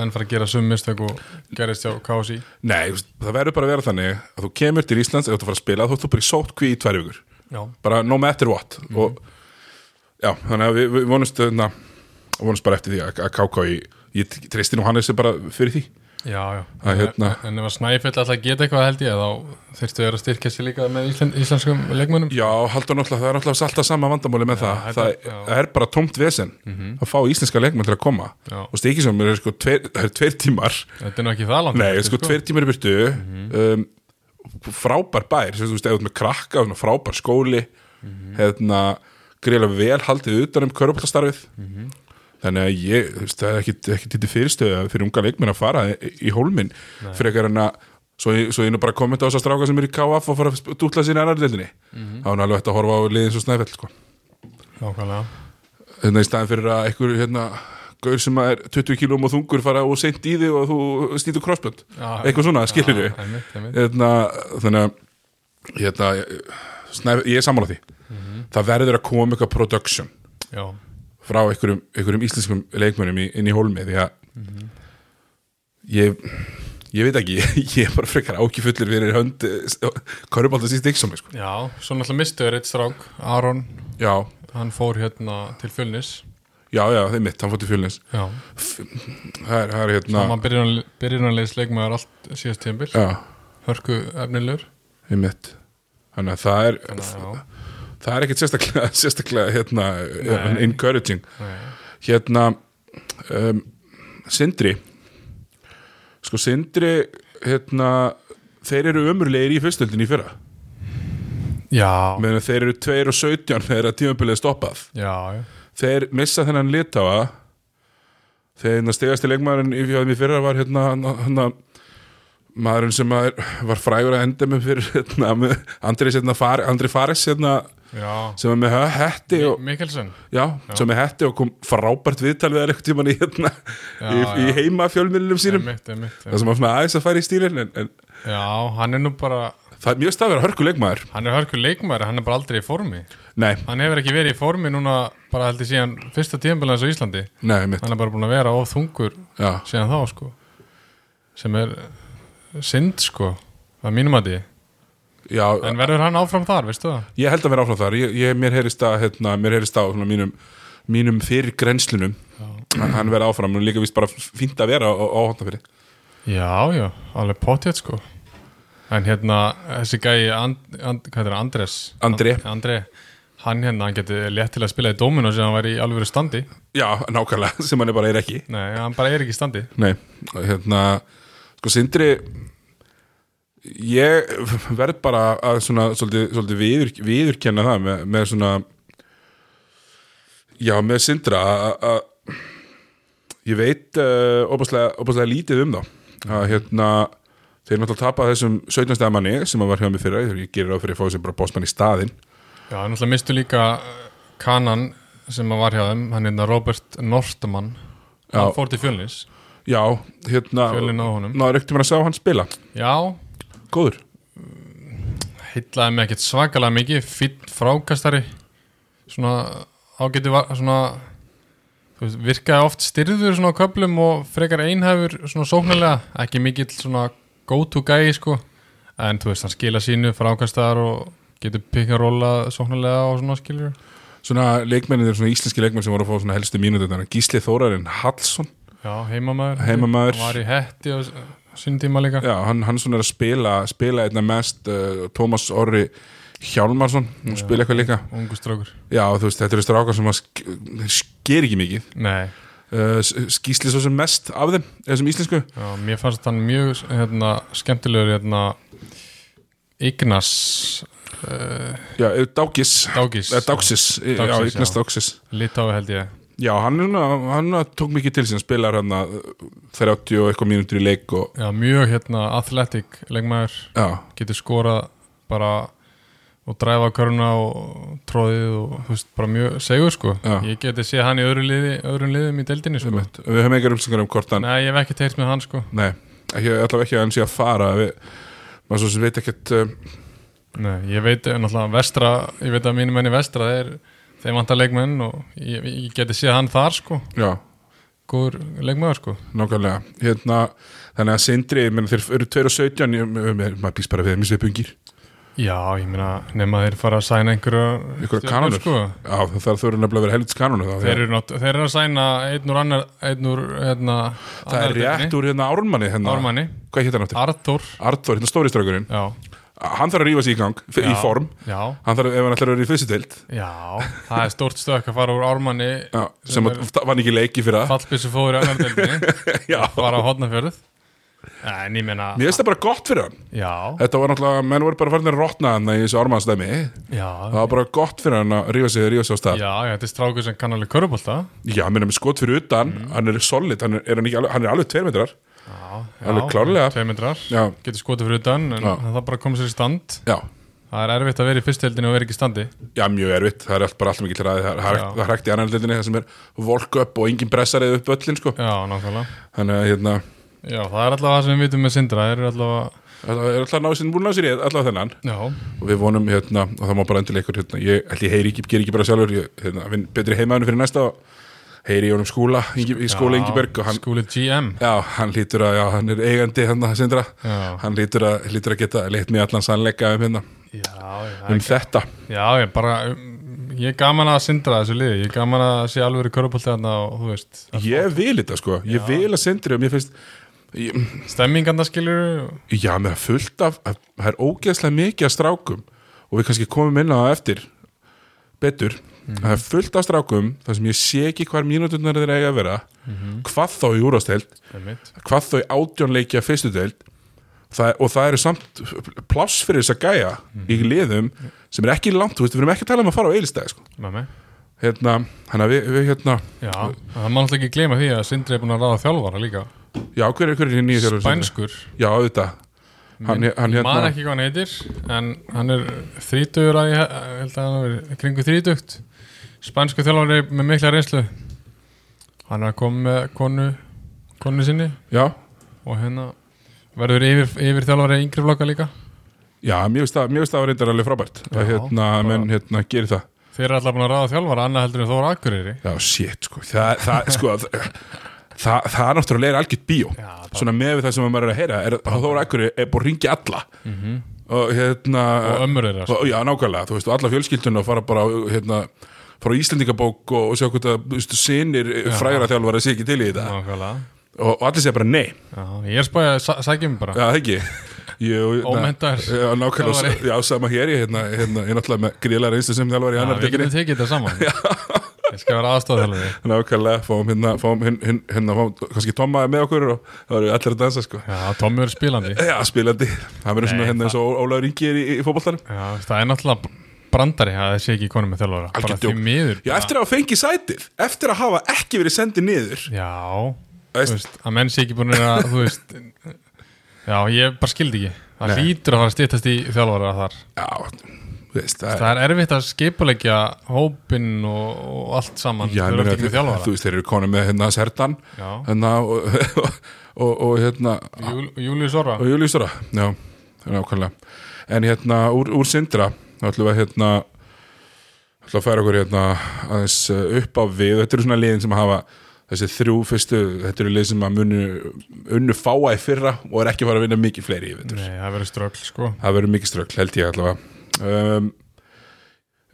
Speaker 2: menn fara að gera sum mistök og gerist hjá KSI
Speaker 1: nei, þú veist, það verður bara að vera þannig að þú kemur til Íslands ef þú ert að fara að spila þá ert þú bara í sótkví í tvær vikur
Speaker 2: Já,
Speaker 1: bara no matter what og já, þannig að við, við vonumst na, vonumst bara eftir því að, að KKI ég treysti nú Hannes bara fyrir því
Speaker 2: já, já.
Speaker 1: Það er hérna-
Speaker 2: En- En ef að Snæfell alltaf geta eitthvað held ég þá þyrftu þeir að styrkja sér líka með íslen, íslenskum leikmönnum
Speaker 1: Já, haldur náttúrulega, það er náttúrulega alltaf sama vandamáli með það,
Speaker 2: þetta-
Speaker 1: það,
Speaker 2: já.
Speaker 1: það er bara tómt vesen að fá íslenska leikmenn til að koma
Speaker 2: Já.
Speaker 1: og Stikisson er sko tveir, það er tveir tímar
Speaker 2: Þetta er Mhm. nú ekki það langt
Speaker 1: nei, sko tveir tímar í byrtu um, frábær bær sem þú veist, eða með krakka, svona frábær skóli
Speaker 2: Mhm.
Speaker 1: hérna greiðlega vel haldið utan um körpaltastarfið
Speaker 2: Mhm.
Speaker 1: þannig að ég, þú veist, það er ekkit, ekkit til fyrirstöðu fyrir unga leikmenn að fara í, í hólminn frekar en að Svo, ég- svo ég nú bara kommenta á þess að stráka sem er í KF og fara að dútla sér í annar deildinni
Speaker 2: Mhm.
Speaker 1: þá er nú alveg hægt að horfa á liðin svo snæfell sko.
Speaker 2: Nákvæmlega
Speaker 1: Þannig í staðin fyrir að einhver hérna, gaur sem er 20 kílum og þungur fara og seint í þig og þú snýtur crossbund
Speaker 2: Já.
Speaker 1: eitthvað svona, skilur
Speaker 2: Já, einmitt, einmitt.
Speaker 1: hérna, þannig að hérna, snæf, ég er sammála því
Speaker 2: Mhm.
Speaker 1: það verður að koma eitthvað production
Speaker 2: Já,
Speaker 1: frá einhverjum, einhverjum íslenskum leikmönnum í, inn í hólmi því að
Speaker 2: Mhm.
Speaker 1: ég ég veit ekki, [laughs] ég er bara frekar ákifullir fyrir hönd Körubaldur síst ekki sko.
Speaker 2: já, svo náttúrulega mistuður eitt strák Aron,
Speaker 1: já,
Speaker 2: hann fór hérna til Fjölnis
Speaker 1: já, já, það er mitt, hann fótt í fjölnins
Speaker 2: Já,
Speaker 1: það er, það er hérna
Speaker 2: hann byrjunarleis leikmöður allt síðast tíðanbyrg
Speaker 1: já,
Speaker 2: Hörku efnilegur
Speaker 1: einmitt þannig að það er,
Speaker 2: Þannig að já,
Speaker 1: það er ekkit sérstaklega, [laughs] sérstaklega hérna,
Speaker 2: Nei.
Speaker 1: encouraging
Speaker 2: nei,
Speaker 1: hérna um, Sindri sko Sindri hérna, þeir eru ömurlegir í fyrstöldin í fyrra
Speaker 2: já,
Speaker 1: meðan þeir eru 2 og 17 þegar að tímabilið er stoppað
Speaker 2: já, já.
Speaker 1: þeir missa þennan litáa þegar hérna stegasti leikmaðurinn í fjöðum í fyrra var hérna, hérna maðurinn sem maður var frægur að enda með fyrir hérna, með Andri, hérna, Far, Andri Fares hérna,
Speaker 2: já.
Speaker 1: sem var með hö- hetti og,
Speaker 2: Mikkelsen
Speaker 1: já, sem er hetti og kom frábært viðtal við þær eitthvað tíman í, hérna,
Speaker 2: Já,
Speaker 1: í, í
Speaker 2: já.
Speaker 1: heima fjölmjölunum sínum
Speaker 2: einmitt, einmitt,
Speaker 1: það
Speaker 2: einmitt.
Speaker 1: sem var svona aðeins að færa í stílinn en, en
Speaker 2: Já, hann er nú bara
Speaker 1: það er mjög stað að vera hörku leikmaður
Speaker 2: hann er hörkur leikmæri, hann er bara aldrei í formi
Speaker 1: nei,
Speaker 2: hann hefur ekki verið í formi núna bara heldur síðan fyrsta tíðanbyrðans á Íslandi
Speaker 1: nei, mitt
Speaker 2: hann er bara búin að vera of þungur
Speaker 1: já,
Speaker 2: síðan þá sko sem er synd sko að mínum að því,
Speaker 1: já,
Speaker 2: en verður hann áfram þar veistu það?
Speaker 1: ég held að vera áfram þar ég, ég, mér heyrist að, hérna, mér heyrist að svona, mínum, mínum fyrir grenslunum hann vera áfram, og líka vist bara fínt að vera á, á hóttan fyrir
Speaker 2: Já, já, alveg pottjætt sko en hérna þessi gæi and, and, hvað heitir hann, Andres
Speaker 1: Andri.
Speaker 2: And, Andri, hann hérna, hann geti létt til að spila í dóminu sem hann væri í alvöru standi
Speaker 1: já, nákvæmlega, [laughs] sem hann er bara er ekki
Speaker 2: nei, hann bara er ekki í standi
Speaker 1: Nei, hérna sko Sindri ég verð bara að svona, svolítið, svolítið viður, viðurkenna það með, með svona já, með Sindra að- að ég veit uh, opaslega, opaslega lítið um þá að hérna þeir náttúrulega tapa þessum 17. stiga manni sem að var hjá mig fyrra, ég gerir á fyrir að fá þessi bara bóstmann í staðinn
Speaker 2: Já, en náttúrulega mistu líka uh, kanan sem að var hjá þeim, hann hérna Robert Nortman
Speaker 1: Já.
Speaker 2: hann fór til fjölnis,
Speaker 1: já, hérna
Speaker 2: fjölin á honum
Speaker 1: náður ekkert tíma að sjá hann spila,
Speaker 2: Já,
Speaker 1: góður
Speaker 2: heitlaði mig ekkert svakalega mikið fýtt frákastari svona ágæti var svona þú veist, virkaði oft styrður svona á köflum og frekar einhæfur svona sóknarlega, ekki mikill svona go to guy sko en þú veist, hann skila sínu frákastar og getur pikka róla sóknarlega og svona skilur
Speaker 1: svona leikmennir, svona íslenski leikmenn sem voru að fá svona helstu mínútur, Gísli Þórarinn Hallsson,
Speaker 2: Já, heimamaður
Speaker 1: Heimamaður.
Speaker 2: Hann var í hetti á sínum tíma líka
Speaker 1: já, hann, hann svona er að spila spila einna mest uh, Tómas Orri Hjálmarsson hún spila eitthvað líka,
Speaker 2: Ungu strókur
Speaker 1: já þú veist, þetta eru strákar sem að sk þeir sker ekki mikið,
Speaker 2: Nei,
Speaker 1: uh, s- skýsli svo sem mest af þeim, þessum íslensku
Speaker 2: já, mér fannst hann mjög hérna, skemmtilegur hérna, Ignas uh,
Speaker 1: já, eh, Dákis,
Speaker 2: Dágis
Speaker 1: eh, Dáksis eh, já,
Speaker 2: Dáxis,
Speaker 1: Ignast
Speaker 2: já.
Speaker 1: Dáksis
Speaker 2: Litáu held ég
Speaker 1: já, hann, er svona, hann tók mikið til sín spilar hann að 30 og eitthvað mínútur í leik og,
Speaker 2: Já, mjög hérna athletic leikmaður
Speaker 1: já,
Speaker 2: getur skorað bara og dræfa köruna og tróðið og þú veist, bara mjög segur sko
Speaker 1: Já.
Speaker 2: ég geti séð hann í öðru liði, öðrum liðum í deildinni sko
Speaker 1: Einmitt. Við höfum engar upplýsingar um hvort hann
Speaker 2: Nei, ég hef ekki teirt með hann sko
Speaker 1: Nei, ekki, allavega ekki að hann sé að fara við, maður svo sem veit ekkert um,
Speaker 2: Nei, ég veit eh, náttúrulega vestra, ég veit að mínum menni vestra þeir, þeir vantar leikmenn og ég, ég geti séð hann þar sko
Speaker 1: já,
Speaker 2: góður leikmaður sko
Speaker 1: nákvæmlega hérna, þannig að Sindri, ég menn þeir eru 2 og 17 ég, ég, maður býst bara við þeim í svipungir
Speaker 2: Já, ég meina, nema þeir fara að sæna einhverja
Speaker 1: Einhverjar
Speaker 2: stjörnur,
Speaker 1: kanónur.
Speaker 2: sko.
Speaker 1: já, það þarf þurfa nefnilega að vera helvits kanonu
Speaker 2: Þeir
Speaker 1: það,
Speaker 2: eru, nátt, þeir eru að sæna einn úr annar einn úr, hérna
Speaker 1: það er rétt úr hérna Ármanni hérna,
Speaker 2: Ármanni,
Speaker 1: hvað hétt hann aftur?
Speaker 2: Arthur
Speaker 1: Arthur, hérna stóri strákurinn
Speaker 2: Já,
Speaker 1: hann þarf að rífa sig í gang, í
Speaker 2: Já.
Speaker 1: form
Speaker 2: já,
Speaker 1: hann þarf, ef hann ætlar að vera í fyrstu deild
Speaker 2: já Það er stórt stökk að fara úr Ármanni
Speaker 1: já, sem að, vann ekki leiki fyrir það
Speaker 2: fallbissu fóður í annar deildinni
Speaker 1: [laughs] já,
Speaker 2: fara á hotnafjörð En ég meina,
Speaker 1: mér finnst það bara gott fyrir hann
Speaker 2: já,
Speaker 1: þetta var náttúrulega, menn voru bara farin að rotna hann í þessu Ármannsdæmi það
Speaker 2: já
Speaker 1: var bara gott fyrir hann að rífa sig, rífa sig á stað
Speaker 2: Já, þetta er strákur sem kannarlega körubólta
Speaker 1: Já, hann er með skot fyrir utan,
Speaker 2: Mhm.
Speaker 1: hann er solid, hann er, er, hann ekki, alveg- hann er alveg tveir metrar.
Speaker 2: Já,
Speaker 1: Alveg klárlega.
Speaker 2: Tveimindrar,
Speaker 1: Já,
Speaker 2: getur skotið fyrir utan en
Speaker 1: Já.
Speaker 2: það bara kom sér í stand
Speaker 1: já,
Speaker 2: Það er erfitt að vera í fyrstildinni og vera ekki í standi
Speaker 1: já, mjög erfitt, það er allt bara alltaf mikið til ræði, það, það, er hægt-
Speaker 2: Já.
Speaker 1: það er hægt í annan hlutinni, það sem er volk upp og engin pressarið upp öllin, sko.
Speaker 2: Já, nákvæmlega
Speaker 1: Þannig að, hérna,
Speaker 2: Já, það er allavega það sem við vitum með Sindra Það eru allavega,
Speaker 1: það er alltaf náðu sinni búin að ná sér í allavega þennan
Speaker 2: já,
Speaker 1: og við vonum, hérna, og það má bara endilega ykkur, hérna, ég, ætli, ég heyri ekki, ger ekki bara sjálfur, ég, hérna, vinn betri heimaðinu fyrir næsta og heyri í honum skúla, ingi, í skóla Ingiberg og hann,
Speaker 2: Skúli GM
Speaker 1: já, hann lítur að, já, hann er eigandi, hérna, sindra,
Speaker 2: Já,
Speaker 1: hann lítur að, lítur að geta leitt mér allan sannleika um, hérna,
Speaker 2: já, já,
Speaker 1: um þetta.
Speaker 2: já ég bara um, Ég er gaman að Sindra þessu liði Ég er gaman að sé alveg í körupolti þarna og þú veist
Speaker 1: Ég vil þetta sko, ég vil að sendri og mér finnst, ég,
Speaker 2: Stemmingarna skilur
Speaker 1: já, mér er fullt af, af það er ógeðslega mikið af strákum og við kannski komum inn á það eftir betur, það er fullt af strákum þar sem ég sé ekki hvar mínúturnar þeir eiga að vera, hvað þá í úrasteld
Speaker 2: Einmitt.
Speaker 1: hvað þá í átjónleikja fyrstu deild það, og það eru samt pláss fyrir þess að gæja í
Speaker 2: Mhm.
Speaker 1: liðum sem er ekki langt, þú veist, við erum ekki að tala um að fara á eilstæði sko,
Speaker 2: Með mig
Speaker 1: hérna, hann að við, við hérna,
Speaker 2: Já, það má náttúrulega ekki gleyma því að Sindri er búin að ráða þjálfara líka
Speaker 1: já, hver er, hver er nýja þjálfari Sindra?
Speaker 2: Bænskur,
Speaker 1: Já, auðvitað Hann, hann
Speaker 2: hérna. man
Speaker 1: hérna,
Speaker 2: ekki hvað hann heitir En hann er þrítugur að ég he- held að hann er kringu þrítugt Spænsku þjálfari með mikla reynslu Hann er að koma með konu Konu sinni
Speaker 1: já,
Speaker 2: og hérna verður yfir, yfir þjálfari yngri flokka líka
Speaker 1: já, mér finnst það, mér finnst það reyndar alveg frábært
Speaker 2: Já,
Speaker 1: að hérna,
Speaker 2: bara-
Speaker 1: menn hérna gerir það
Speaker 2: þeir eru alltaf búin að ráða þjálfara annað heldur en Þóra Akureyri
Speaker 1: Já, shit, sko, það, það, sko
Speaker 2: [laughs]
Speaker 1: það, það, það er náttúrulega er algjört bíó
Speaker 2: Já, bara-
Speaker 1: svona með við það sem maður er að heyra er, að Þóra Akkuri er búin að ringja alla og hérna
Speaker 2: Mhm. og ömmur þeirra sko.
Speaker 1: og, já, nákvæmlega, þú veist, og alla fjölskyldun og fara bara, á, hérna fara á Íslendingabók og, og sjá hvort að, þú veist, sinir frægra þjálfara sé ekki til í þetta
Speaker 2: Nákvæmlega.
Speaker 1: og, og allir segja bara nei,
Speaker 2: Já, ég er spæðið að sæ- sækja mig bara
Speaker 1: já, það ekki Jú, hérna-
Speaker 2: Ómenntaður
Speaker 1: Já, nákvæmlega,
Speaker 2: Þjálfari.
Speaker 1: já, sama hér ég, hérna, hérna, ég náttúrulega með gríðlega reynslu sem þjálfari í
Speaker 2: Já,
Speaker 1: annar
Speaker 2: við
Speaker 1: deginni,
Speaker 2: getum tekið þetta
Speaker 1: [laughs]
Speaker 2: saman ég skal vera aðstofað þjálfari
Speaker 1: nákvæmlega fáum hérna, fáum hin- hin- hérna, fáum kannski Tomma með okkur og það eru allir að dansa sko
Speaker 2: Já, Tommi er spilandi Já,
Speaker 1: Já, spilandi, það verður svona
Speaker 2: Nei,
Speaker 1: hérna eins og Ólaður Ingi er í, í fótboltanum
Speaker 2: það er náttúrulega brandari að það sé ekki konum með þjálfara
Speaker 1: Algjör
Speaker 2: bara
Speaker 1: djók.
Speaker 2: því miður
Speaker 1: Já,
Speaker 2: bara-
Speaker 1: eftir að hafa fengið sætið, eftir að hafa ekki verið sendið niður
Speaker 2: Já,
Speaker 1: Veist-
Speaker 2: þú veist, að menn sé ekki búin að, þú veist, [laughs] já, ég bara skildi ekki. Það
Speaker 1: Nei.
Speaker 2: hlýtur að fara að stýttast í þjálfara þar.
Speaker 1: Já, þú veist, það er
Speaker 2: Það er erfitt að skipulegja hópinn og, og allt
Speaker 1: Já,
Speaker 2: saman þegar þú ert
Speaker 1: meina,
Speaker 2: ekki
Speaker 1: þið-
Speaker 2: með
Speaker 1: þú
Speaker 2: þjálfara.
Speaker 1: veist, þeir eru konum með hérna Sertan
Speaker 2: Já.
Speaker 1: hérna, og, og, [laughs] og, og hérna
Speaker 2: Júl, Július Orra,
Speaker 1: og Júliusdóra, já, nákvæmlega en hérna úr, úr Sindra þá ætlum við að hérna ætlum að færa okkur hérna aðeins eh, upp á við, þetta eru svona liðin sem hafa þessi þrjú fyrstu, þetta eru liðin sem að munu unnu fáa í fyrra og er ekki að fara að vinna mikið fleiri í vetur
Speaker 2: nei, það verður strögl, sko.
Speaker 1: það verður mikið strögl, held ég allavega um,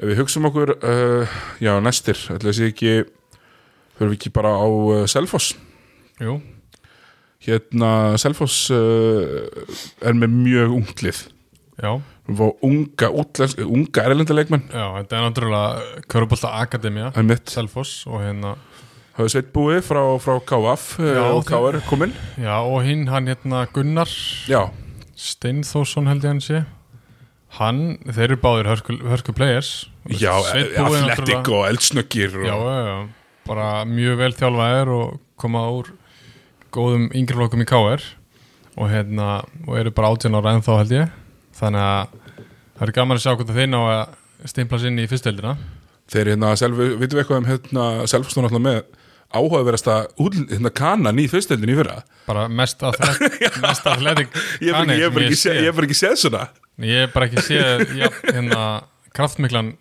Speaker 1: ef við hugsum okkur uh, já, næstir ætlum við sé ekki höfum við ekki bara á uh, Selfoss
Speaker 2: Jú,
Speaker 1: hérna, Selfoss uh, er með mjög unglið
Speaker 2: já,
Speaker 1: Vá, unga, útlensk, unga erlenda leikmenn
Speaker 2: já, þetta er náttúrulega Körbólta Akademia,
Speaker 1: einmitt,
Speaker 2: Selfoss og hérna,
Speaker 1: hafði sveit búið frá, frá KF eh,
Speaker 2: Já,
Speaker 1: og KR kominn
Speaker 2: já, og hinn, hann hérna Gunnar
Speaker 1: já,
Speaker 2: Steinþórsson held ég hann sé. Hann, þeir eru báðir hörku, hörku players.
Speaker 1: já
Speaker 2: Sveinn Búi náttúrulega-
Speaker 1: atletik og eldsnöggir
Speaker 2: já,
Speaker 1: og,
Speaker 2: já, já, bara mjög vel þjálfaðir og koma úr góðum yngri flokkum í KR og hérna, og eru bara 18 ára ennþá held ég þannig að Það er gaman að sjá hvernig þeir ná að stimpla sér inn í fyrsteldina.
Speaker 1: Þeir hérna, selvi, vitum við eitthvað um hérna, Selfsson alltaf með áhugaverasta úl, hérna, kanan í fyrstöldin í fyrra
Speaker 2: Bara mest
Speaker 1: [laughs]
Speaker 2: athlet- mest athletic
Speaker 1: Ég hef bara-
Speaker 2: kaninn
Speaker 1: ég hef bara
Speaker 2: sem
Speaker 1: ekki sé-
Speaker 2: sé.
Speaker 1: ég hef bara ekki séð svona
Speaker 2: Ég hef bara ekki séð já, hérna, kraftmiklan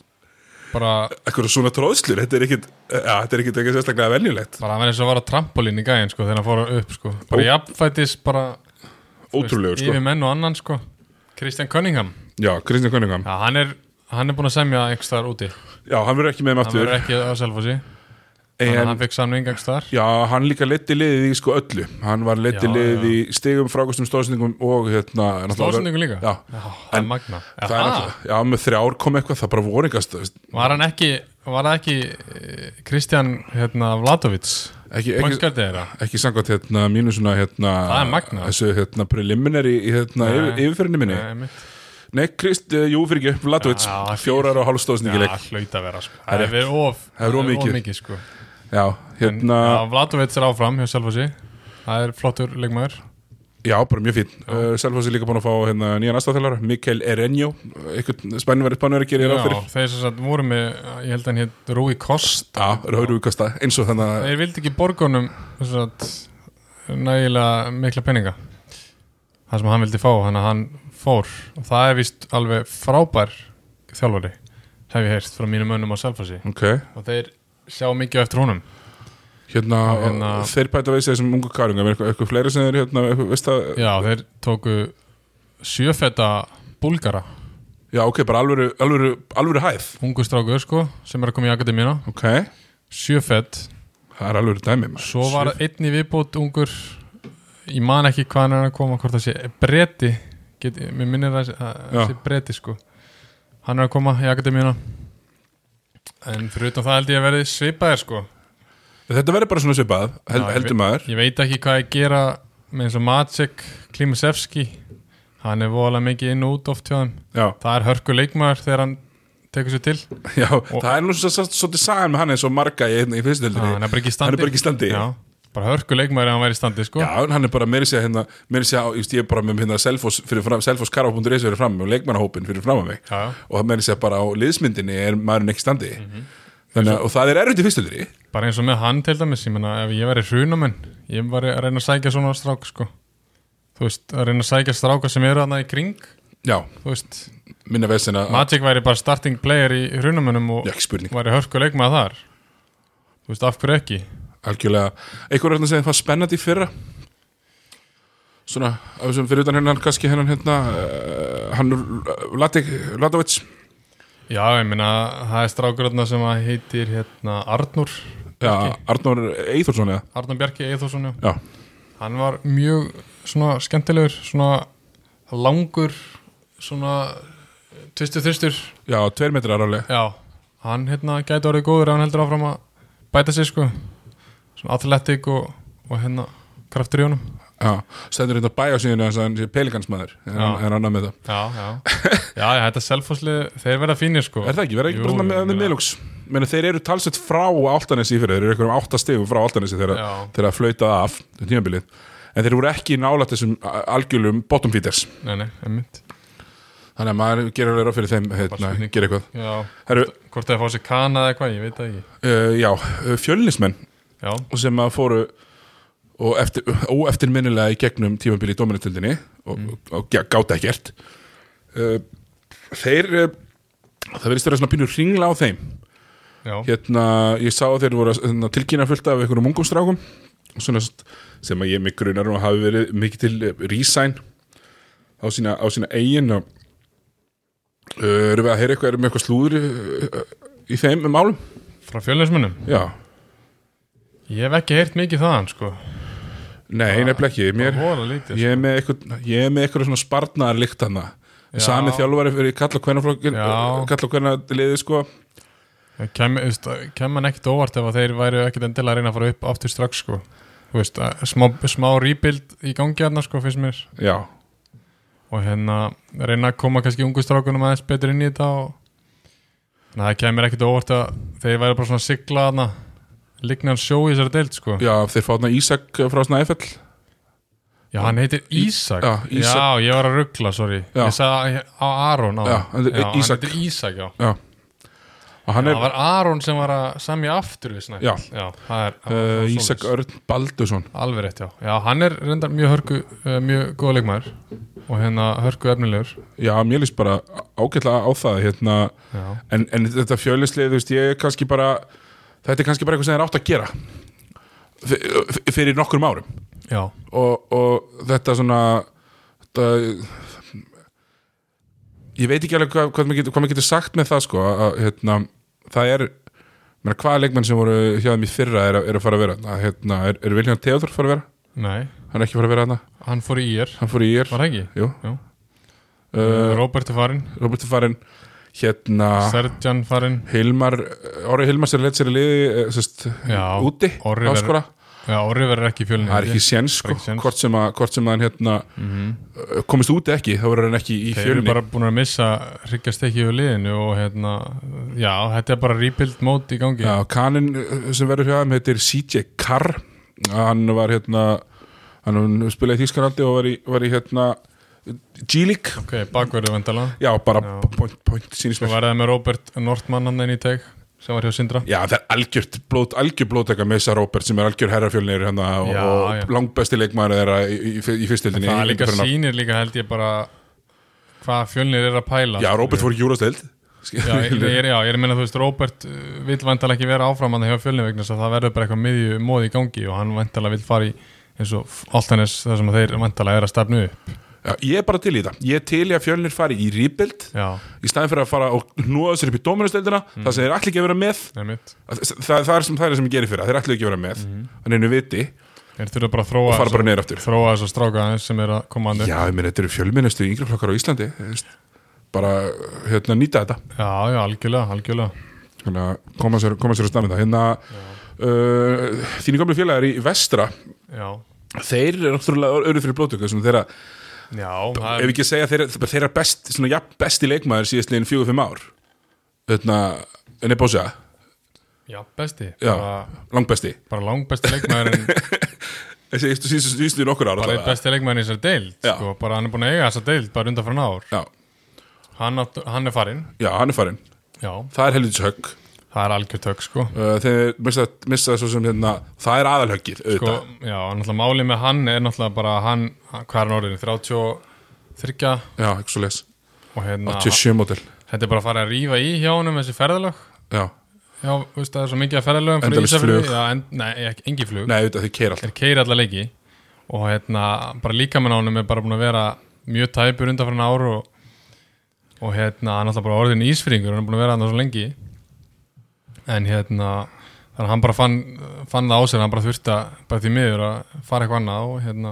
Speaker 2: bara,
Speaker 1: eitthvað svona tróðslur, þetta er ekkit ja, þetta er ekkit eitthvað sérstaklega venjulegt
Speaker 2: bara að vera eins og að vara trampolín í gæðin sko, þegar hann fór upp sko. bara
Speaker 1: Ó.
Speaker 2: jafnfætis bara
Speaker 1: ótrúlegur
Speaker 2: yfir
Speaker 1: sko
Speaker 2: menn og annan sko. Christian Cunningham
Speaker 1: já, Kristján Cunningham,
Speaker 2: já, hann, er, hann er búin að semja einhvers þar úti hann
Speaker 1: já, hann verður ekki með með aftur
Speaker 2: verður ekki á Selfossi þannig að
Speaker 1: en
Speaker 2: hann fekk samning einhvers þar
Speaker 1: já, hann líka leiti liðið í sko öllu hann var leiti
Speaker 2: Já,
Speaker 1: liðið
Speaker 2: já.
Speaker 1: í stigum, frákastum, stóðsendingum og hérna náttúrulega-
Speaker 2: Lóðsendingu líka?
Speaker 1: já,
Speaker 2: það er magna
Speaker 1: það er
Speaker 2: Aha,
Speaker 1: náttúrulega, já, með þrjár kom eitthvað það bara voru eitthvað, þú veist,
Speaker 2: var hann ekki var það ekki eh, Christian hérna, Vladovits
Speaker 1: ekki, ekki
Speaker 2: pointgardi þeirra
Speaker 1: ekki samkvæmt hérna mínu svona hérna
Speaker 2: Það er magnað.
Speaker 1: þessu hérna preliminary í hérna
Speaker 2: Nei.
Speaker 1: yfir, yfirferðinni minni
Speaker 2: Nei, mitt.
Speaker 1: nei Krist, uh, jú fyrir ekki, Vladovits
Speaker 2: Já, allt-
Speaker 1: fjórar og hálfstóðsningileik
Speaker 2: Já, hlaut að vera sko. Það er verið of
Speaker 1: Það er of mikið.
Speaker 2: mikið sko.
Speaker 1: já, hérna,
Speaker 2: Já, Vladovits er áfram hjá Selfossi Það er flottur leikmaður
Speaker 1: já, bara mjög fín uh, Selfoss er líka búin að fá hérna nýjan aðstafþjálfara Mikael Erenjó, eitthvað spænverið spænverið gerir
Speaker 2: Já,
Speaker 1: ráð fyrir
Speaker 2: þeir sem sagt voru með Ég held að hann hétt Rúi Kost
Speaker 1: Já, Rauðrúkasta, eins og þannig að
Speaker 2: Þeir vildi ekki borgunum sagt, Nægilega mikla peninga Það sem hann vildi fá Þannig að hann fór Og það er vist alveg frábær þjálfari Hef ég heyrt frá mínum mönnum á Selfossi
Speaker 1: Ok,
Speaker 2: Og þeir sjá mikið eftir honum
Speaker 1: hérna,
Speaker 2: Hérna-
Speaker 1: þeir bæta við sig þessum ungu karunga, er eitthvað, eitthvað fleiri sem er hérna, eitthvað, veist að, já.
Speaker 2: Já, þeir tóku Sjöfetta búlgara
Speaker 1: ok, bara alvöru, alvöru, alvöru hæð,
Speaker 2: ungu strákur sko, sem er að koma í akademíuna
Speaker 1: ok,
Speaker 2: sjöfett,
Speaker 1: það er alvöru dæmi maður.
Speaker 2: svo var einn í viðbót ungur, ég man ekki hvað hann er að koma, hvort það sé bretti get, mér minnir að að- að
Speaker 1: Já.
Speaker 2: sé bretti sko, hann er að koma í akademíuna en fyrir utan það held ég að verði svipaðir sko
Speaker 1: Þetta verður bara svona svipað, hel,
Speaker 2: Já, ég
Speaker 1: heldur
Speaker 2: veit-
Speaker 1: maður
Speaker 2: ég veit ekki hvað ég gera með eins og Maciek Klimasevski hann er voðalega mikið inn og út oft hjá hann
Speaker 1: Já,
Speaker 2: það er hörku leikmaður þegar hann tekur sér til
Speaker 1: já það er nú svo- svo- svolítið sagan með hann eins og marga í, í
Speaker 2: Já, hann
Speaker 1: fyrstöldinni
Speaker 2: er bara ekki í standi
Speaker 1: Hann er bara ekki í standi.
Speaker 2: Já, bara hörku leikmaður ef hann væri í standi sko.
Speaker 1: Já, en hann er bara meiri sér hérna meiri sér, ég er bara með hérna selfos fyrir fram, selfoskarfa.is fyrir fram og leikmannahópin fyrir fram að mig
Speaker 2: Já, já.
Speaker 1: og meiri sér bara á liðsmyndinni er maðurinn ekki í standi Þannig, að- og það er erfitt í fyrstöldinni
Speaker 2: bara eins og með hann til dæmis ég menna, ef ég væri hrunamenn ég væri að reyna að sækja svona strák sko. þú veist, að reyna að sækja stráka sem eru hann í kring
Speaker 1: Já,
Speaker 2: þú veist,
Speaker 1: minna vesin að
Speaker 2: Magic væri bara starting player í hrunamennum og
Speaker 1: Já, ekki spurning,
Speaker 2: væri hörku leikmaður þar þú veist, af hverju ekki
Speaker 1: algjörlega einhver er hérna að segja hvað spennandi í fyrra Svona, af þessum fyrir utan hennan kannski hennan hérna uh, hann Latik, Latovits
Speaker 2: já, ég meina, það er strákur þarna sem að heitir hérna Arnur
Speaker 1: Já, Arnór Eithórsson eða
Speaker 2: Arnur Bjarki Eithosson, já
Speaker 1: Já,
Speaker 2: hann var mjög svona skemmtilegur svona langur svona tvistur þristur
Speaker 1: já, tveir metrar alveg
Speaker 2: já, hann hérna gæti orðið góður ef hann heldur áfram að bæta sig sko svona athletic og, og hérna kraftur í honum
Speaker 1: Já, stendur hérna bæja síðan þess að hann sé pelikansmaður en
Speaker 2: Já.
Speaker 1: hann er annað með það
Speaker 2: já, já, já, já þetta selfhúslið þeir verða fínir sko
Speaker 1: Er það ekki, verða ekki
Speaker 2: Jú,
Speaker 1: bara svona með,
Speaker 2: ég
Speaker 1: með
Speaker 2: meina-
Speaker 1: miðlúks Meni þeir eru talsett frá áltanesi í fyrir Þeir eru einhverjum áttastegum frá áltanesi þegar
Speaker 2: Já.
Speaker 1: þegar að flauta af um tímabilið En þeir voru ekki nálætt þessum algjölum bottom feeders
Speaker 2: nei, nei, einmitt
Speaker 1: Þannig að maður gerir alveg ráð fyrir þeim hérna,
Speaker 2: spurning.
Speaker 1: gera eitthvað
Speaker 2: já,
Speaker 1: Heru,
Speaker 2: hvort það er fá sér kana eða hvað, ég veit það ekki
Speaker 1: uh, Já, uh, fjölnismenn
Speaker 2: já,
Speaker 1: sem að fóru og eftir, óeftirminnilega í gegnum tímabili í dominantildinni og, mm. og, og ja, gáta ekkert uh, þeir uh, það verðist vera svona pínur ringla á þeim
Speaker 2: já,
Speaker 1: hérna, ég sá að þeir voru að, hérna, tilkynna fullt af einhverjum ungum strákum svona, st- sem að ég mig grunar og hafi verið mikið til eh, resign á sína, á sína eigin og uh, erum við að heyra eitthvað, erum við eitthvað slúður uh, uh, í þeim málum?
Speaker 2: frá fjölinsmunum
Speaker 1: Já,
Speaker 2: ég hef ekki heyrt mikið þaðan sko
Speaker 1: nei, nefnilega ekki mér,
Speaker 2: voru lítið
Speaker 1: Ég er með eitthvað, ég er með eitthvað svona spartnaðar líkt hann Sami þjálfari fyrir kalla hvernaflokkin
Speaker 2: Já.
Speaker 1: Kalla hvernaliði sko
Speaker 2: Það kem, þú veist, það kem hann ekkert óvart ef að þeir væru ekkert endilega að reyna að fara upp aftur strax sko. Þú veist, að smá, smá rebuild í gangi hérna sko, finnst mér
Speaker 1: Já,
Speaker 2: og hérna reyna að koma kannski ungu strákunum aðeins betur inn í þetta og Þannig að það kemur ekkert óvart að þeir væru bara svona að sigla hana lignan sjó í þessari deild sko.
Speaker 1: eh, já þeir fá þarna Ísak frá Snæfell
Speaker 2: Já, hann heitir Ísak.
Speaker 1: Já, Ísak.
Speaker 2: Já, ég var að ruggla, sorry.
Speaker 1: Já.
Speaker 2: Ég sagði á Aron á.
Speaker 1: Já, hann heitir Ísak.
Speaker 2: hann heitir Ísak, já.
Speaker 1: já og hann
Speaker 2: Það
Speaker 1: er
Speaker 2: var Aron sem var að semja aftur við snætt.
Speaker 1: Já.
Speaker 2: það er það var
Speaker 1: uh,
Speaker 2: svoleiðis.
Speaker 1: Ísak Örn Baldursson
Speaker 2: Alveg rétt, já. Já, hann er reyndar mjög hörku, uh, mjög góð leikmaður og hérna hörku efnilegur.
Speaker 1: já, mér líst bara ágætlega á það hérna,
Speaker 2: Já,
Speaker 1: en, en þetta fjölislið, þú veist, ég er kannski bara þetta er kannski bara eitthvað sem þeir átt að gera f- f- fyrir nokkrum árum
Speaker 2: já,
Speaker 1: og, og þetta svona þetta, ég veit ekki alveg hvað, hvað, maður getur, hvað maður getur sagt með það sko að, hérna, það er menn, hvaða leikmenn sem voru hjá þeim í fyrra er, að- er að fara að vera að, hérna, er, er Viljan Theodor fara að vera
Speaker 2: nei,
Speaker 1: hann er ekki fara að vera hann,
Speaker 2: hann fór í ír,
Speaker 1: hann fór í ír
Speaker 2: var það ekki?
Speaker 1: jú,
Speaker 2: Jú.
Speaker 1: uh,
Speaker 2: Eh, Robert er farinn,
Speaker 1: Robert er farin hérna
Speaker 2: Sergjan farinn,
Speaker 1: Hilmar, Orri Hilmar sér leitt sér í liði eh, sest,
Speaker 2: Já,
Speaker 1: úti
Speaker 2: Orri verður-
Speaker 1: áskora,
Speaker 2: já, Orri verður ekki í fjölni.
Speaker 1: það er ekki séns
Speaker 2: Það er
Speaker 1: sko,
Speaker 2: ekki séns. Mhm.
Speaker 1: hvort sem að, hvort sem að hann hérna eh, komist úti ekki, þá verður hann ekki í
Speaker 2: Þeir eru
Speaker 1: fjölni
Speaker 2: bara búin að missa hryggjast ekki yfir liðinu og hérna, já, þetta er bara rebuild mót í gangi.
Speaker 1: Já, kaninn uh, sem verður hjá þeim heitir CJ Carr hann var hérna hann spilaði í Þískanaldi og var í, var í hérna G-League
Speaker 2: Ok, bakverðu vendala.
Speaker 1: já, bara
Speaker 2: Já.
Speaker 1: p- point, point sínist
Speaker 2: Svo
Speaker 1: mér
Speaker 2: var það með Robert Nortmann hann inn í teg sem var hjá Sindra.
Speaker 1: já, það er algjört blót, algjör blótaka með þessa Robert sem er algjör herrafjölnir hérna og,
Speaker 2: Já, já.
Speaker 1: og langbesti leikmaður þeirra í, í, í- í fyrstildinni
Speaker 2: Það
Speaker 1: í
Speaker 2: líka
Speaker 1: undanfarin ár.
Speaker 2: sýnir líka held ég bara hvað fjölnir er að pæla. sko.
Speaker 1: já, Robert fór í Júrastild
Speaker 2: Já, ég, ég, er- já, ég er að meina þú veist, Robert vil vantalega ekki vera áfram að það hjá fjölni vegna þess að það verður bara eitthvað miðju móð í gangi og hann vantalega vil fara í eins og Altanes þar sem þeir vantalega er að stefnu upp
Speaker 1: [laughs] já, ég er bara til í það, ég er til í að fjölnir fari í Rebuild
Speaker 2: Já,
Speaker 1: í staðin fyrir að fara og hnúa sér upp í Dominustildina mm. það sem þeir allir ekki að vera með
Speaker 2: nefnitt
Speaker 1: Að þa- það, það er sem það er sem ég gerir fyrir þeir ætluðu ekki að vera með þannig einu viti
Speaker 2: Þeir þurfa bara að þróa
Speaker 1: og fara bara
Speaker 2: þessa-
Speaker 1: neður aftur
Speaker 2: þróa þess að stráka aðeins sem er að koma andur
Speaker 1: já, ég meina, þetta eru fjölmennustu yngri flokkar á Íslandi þú veist. bara hérna, nýta þetta
Speaker 2: Já, já, algjörlega, algjörlega
Speaker 1: hérna, koma, sér, koma sér að stað með það hérna, uh, þínu gamlu félagar í vestra
Speaker 2: Já,
Speaker 1: þeir eru náttúrulega öru fyrir blótöku sem þeirra,
Speaker 2: já
Speaker 1: ef
Speaker 2: það er,
Speaker 1: ekki að segja þeirra, þeirra best, svona, ja, besti leikmaður síðast liðin fjögur fimm ár hérna, en er bósa
Speaker 2: Já, besti
Speaker 1: Já.
Speaker 2: Bara,
Speaker 1: langbesti,
Speaker 2: bara langbesti leikmaðurinn
Speaker 1: [laughs] þessi síðustu síðustu- síðustu nokkur ára
Speaker 2: bara einn besti leikmaðurinn í þessari deild
Speaker 1: Já.
Speaker 2: sko, bara hann er búin að eiga þessa deild bara undan frá náður
Speaker 1: já,
Speaker 2: hann, átt- hann er farinn,
Speaker 1: já, hann er farin
Speaker 2: já,
Speaker 1: það er helvits högg
Speaker 2: það er algjör tök sko
Speaker 1: Uh, þeir missa, missa svo sem hérna það er aðalhöggið
Speaker 2: sko,
Speaker 1: auðvitað
Speaker 2: já, náttúrulega málið með hann er náttúrulega bara að hann, hvað er hann orðin 33
Speaker 1: já, ekki svo les,
Speaker 2: og hérna,
Speaker 1: 27 mótil
Speaker 2: þetta er bara að fara að rífa í hjá honum þessi ferðalög
Speaker 1: já,
Speaker 2: já, veist, það er svo mikið að ferðalögum fyrir
Speaker 1: Endalaust
Speaker 2: Ísafjörðu.
Speaker 1: flug.
Speaker 2: já, en, nei, ekki, engi flug
Speaker 1: nei, auðvitað þau keir allt
Speaker 2: þeir keiri alla leiki og hérna, bara líkamann á honum er bara búin að vera mjög tæpur undan fyrir ár og, og hérna, hann er náttúrulega bara orðin ísfringur, hann er búin að vera hann svo lengi en hérna þannig að hann bara fann, fann það á sér hann bara þurfti að, bara því miður að fara eitthvað annað og hérna,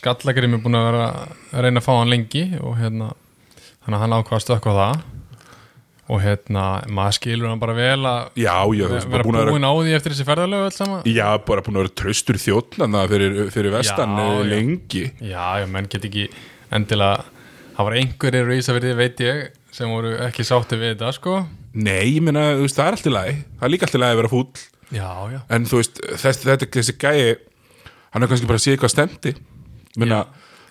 Speaker 2: skallagrim er búin að vera að reyna að fá hann lengi og hérna, þannig að hann ákvað að stökkva það og hérna, maður skilur hann bara vel
Speaker 1: já,
Speaker 2: að
Speaker 1: já, þú veist,
Speaker 2: vera
Speaker 1: bara búin að vera
Speaker 2: búin á því eftir þessi ferðalögu öll saman
Speaker 1: já, bara búin að vera traustur þjóttn þannig að fyrir, fyrir vestan
Speaker 2: Já,
Speaker 1: já,
Speaker 2: já.
Speaker 1: lengi
Speaker 2: Já, já, menn get ekki endilega Það var einhverjir í Ísafirði, veit ég sem voru ekki sátti við þetta, sko
Speaker 1: nei, ég meina, þú veist, það er allt í lagi það er líka allt í lagi að vera fúll
Speaker 2: Já, já
Speaker 1: en þú veist, þess, þetta, þessi gæi hann er kannski bara að sé eitthvað stemdi minna,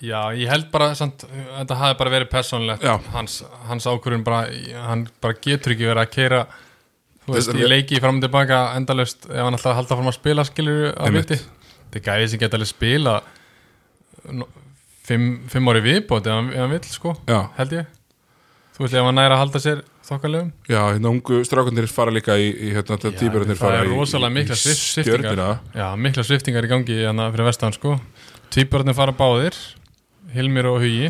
Speaker 2: Já, ég held bara, samt, þetta hafi bara verið persónlegt
Speaker 1: Já.
Speaker 2: hans, hans ákvörðun bara, hann bara getur ekki verið að keira þú veist,
Speaker 1: Þess-
Speaker 2: í leiki fram og tilbaka endalaust ef hann alltaf halda fram að spila skilur að
Speaker 1: Einmitt.
Speaker 2: viti, þetta er gæði sem geta alveg spila no, fimm, fimm ári viðbót ef hann, ef hann vill, sko,
Speaker 1: Já.
Speaker 2: held ég þú veist, ef hann næra að halda sér þokkalegum
Speaker 1: já, hérna ungu strákundir fara líka í, í hérna,
Speaker 2: Já,
Speaker 1: týpurundir
Speaker 2: það
Speaker 1: fara
Speaker 2: er
Speaker 1: í-
Speaker 2: rosalega
Speaker 1: í,
Speaker 2: mikla
Speaker 1: í
Speaker 2: svif- sviftingar
Speaker 1: stjörnina
Speaker 2: já, mikla sviftingar í gangi hana, fyrir vestan sko tvíburarnir fara báðir Hilmir og Hugi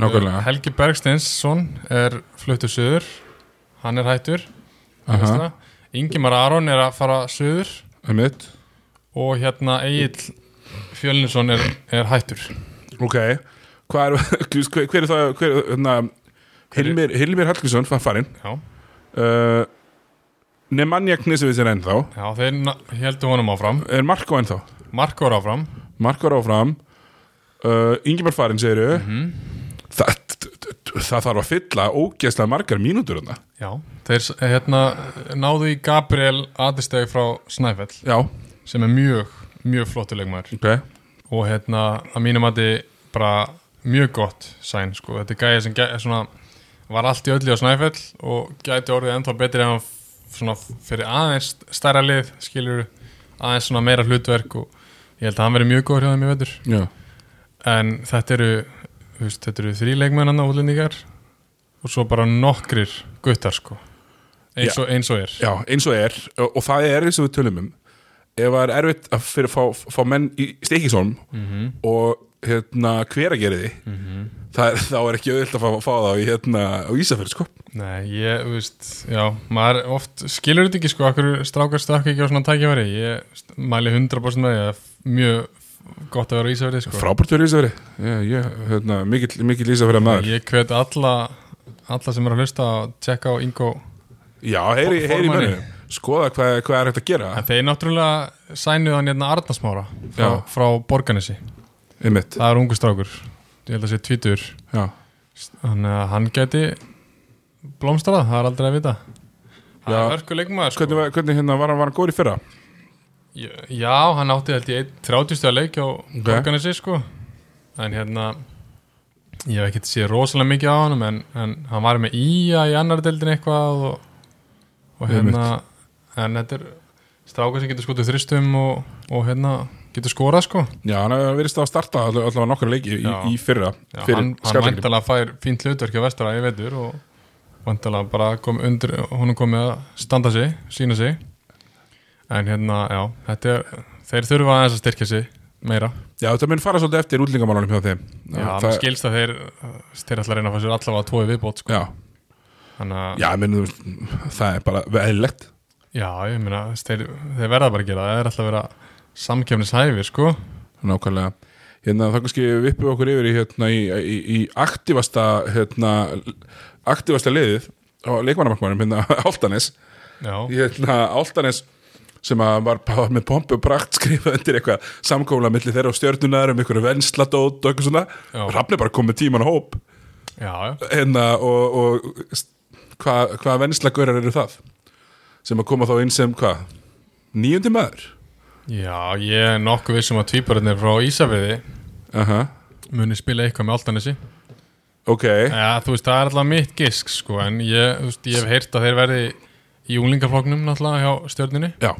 Speaker 2: Eh,
Speaker 1: nákvæmlega,
Speaker 2: Helgi Bergsteinsson er fluttur söður hann er hættur
Speaker 1: Aha.
Speaker 2: uh -huh. Ingemar Aron er að fara söður
Speaker 1: einmitt
Speaker 2: og hérna Egil Fjölinsson er, er hættur
Speaker 1: Ok, hvað er, [laughs] þú veist, hver, hver er það, hver, hérna, Hilmir, Hilmir Hallgrímsson, fann farinn,
Speaker 2: já,
Speaker 1: uh, Nemanja Knisevits er ennþá,
Speaker 2: já þeir na- heldur honum áfram
Speaker 1: er Marko ennþá,
Speaker 2: Marko er áfram
Speaker 1: Marko er áfram, uh, Ingemar farinn segir mm -hmm. það, það þarf að fylla ógeðslega margar mínútur þarna.
Speaker 2: já, þeir s- hérna náðu í Gabriel Adisteg frá Snæfell
Speaker 1: Já,
Speaker 2: sem er mjög, mjög flottulegmaður
Speaker 1: ok,
Speaker 2: og hérna að mínum að þetta bara mjög gott sæn sko. þetta er gæði sem gæ, svona, var allt í öllu á Snæfell og gæti orðið ennþá betri en hann f- svona, fyrir aðeins stærra lið skilur aðeins svona meira hlutverk og ég held að hann verið mjög góður hjá þeim í vetur
Speaker 1: Já,
Speaker 2: en þetta eru, þú veist, þetta eru þrý leikmennana útlendingar og svo bara nokkrir guttar sko. eins, og, eins og er
Speaker 1: Já, eins og er og, og það er eins og við tölum um ef það er erfitt að fyrir að fá, fá menn í steikisólm Mhm, og hérna hver að gera því það er, þá er ekki auðvilt að fá, fá það í, hérna, á Ísafjörð sko
Speaker 2: Nei, ég, þú veist, já, maður oft skilur þetta ekki sko, okkur strákar stakka ekki á svona tækifæri, ég st- mæli 100% með því að mjög gott að vera á Ísafjörði sko.
Speaker 1: frábært verið Ísafjörði Já, ég, hérna, mikill, mikill Ísafjörða maður
Speaker 2: Ég hvet alla, alla sem eru að hlusta að tjekka á Ingo,
Speaker 1: Já, heyri,
Speaker 2: For-
Speaker 1: heyri
Speaker 2: formanni.
Speaker 1: mönnu skoða hvað, hvað er hægt að gera
Speaker 2: en þeir náttúrulega sænuð hann hérna Arnarsmára frá,
Speaker 1: Já.
Speaker 2: frá Borganesi,
Speaker 1: einmitt
Speaker 2: það er ungu strákur, ég held að sé tvítur,
Speaker 1: Já,
Speaker 2: þannig að hann gæti blómstrað, það er aldrei að vita. Það
Speaker 1: Já.
Speaker 2: er örkuleikmaður sko.
Speaker 1: hvernig, var- hvernig hérna var hann, var hann góri fyrra?
Speaker 2: Já, hann átti held ég 30 stjá leik á okay. Borganesi sko en hérna ég hef ekkert séð rosalega mikið á hann en, en hann var með ía í annar deildin eitthvað og, og hérna en þetta er stráka sem getur skotið þristum og, og hérna getur skorað sko
Speaker 1: Já, hann hefur verið stáð að starta all- allavega nokkra leiki í,
Speaker 2: Já.
Speaker 1: í fyrra
Speaker 2: Já,
Speaker 1: fyrir
Speaker 2: hann, hann
Speaker 1: skapleikinn.
Speaker 2: væntalega fær fínt hlutverk á vestra í vetur og væntalega bara kom undir, hún er komið að standa sig, sína sig en hérna, já, þetta er þeir þurfa aðeins að styrkja sig meira
Speaker 1: Já, þetta mun fara svolítið eftir útlingamálunum hjá þeim
Speaker 2: Já, það
Speaker 1: það,
Speaker 2: skilst að þeir uh, þeir ætla að reyna að fá sér allavega tói viðbót sko.
Speaker 1: já,
Speaker 2: þannig að,
Speaker 1: já menn, það er bara veðilegt
Speaker 2: já, ég meina þess- þeir, þeir verða bara að gera það, þeir ætla að vera samkefnishæfi, sko
Speaker 1: nákvæmlega hérna, það kannski vippum við okkur yfir í, hérna, í, í, í aktivasta hérna, aktivasta liðið á leikmannamarkmannum, hérna [laughs] Áltanes
Speaker 2: Já,
Speaker 1: hérna Áltanes sem að var bara með pompu og prakt skrifað undir eitthvað samkóla milli þeirra og stjörnunar um einhverju vennsladót og eitthvað svona
Speaker 2: Já.
Speaker 1: Rafni bara kom með tíman og hóp
Speaker 2: já, já,
Speaker 1: hérna, og, og st- hvað hva vennslagörar eru það sem að koma þá inn sem hvað nýjundi maður
Speaker 2: já ég er nokkuð vissum að tvíbarnir frá Ísafiði
Speaker 1: uh
Speaker 2: muni spila eitthvað með Altanesi
Speaker 1: ok,
Speaker 2: Já, þú veist, það er alltaf mitt gisk, sko en ég, þú veist, ég hef heyrt að þeir verði í unglingafloknum, náttúrulega, hjá stjörninni
Speaker 1: já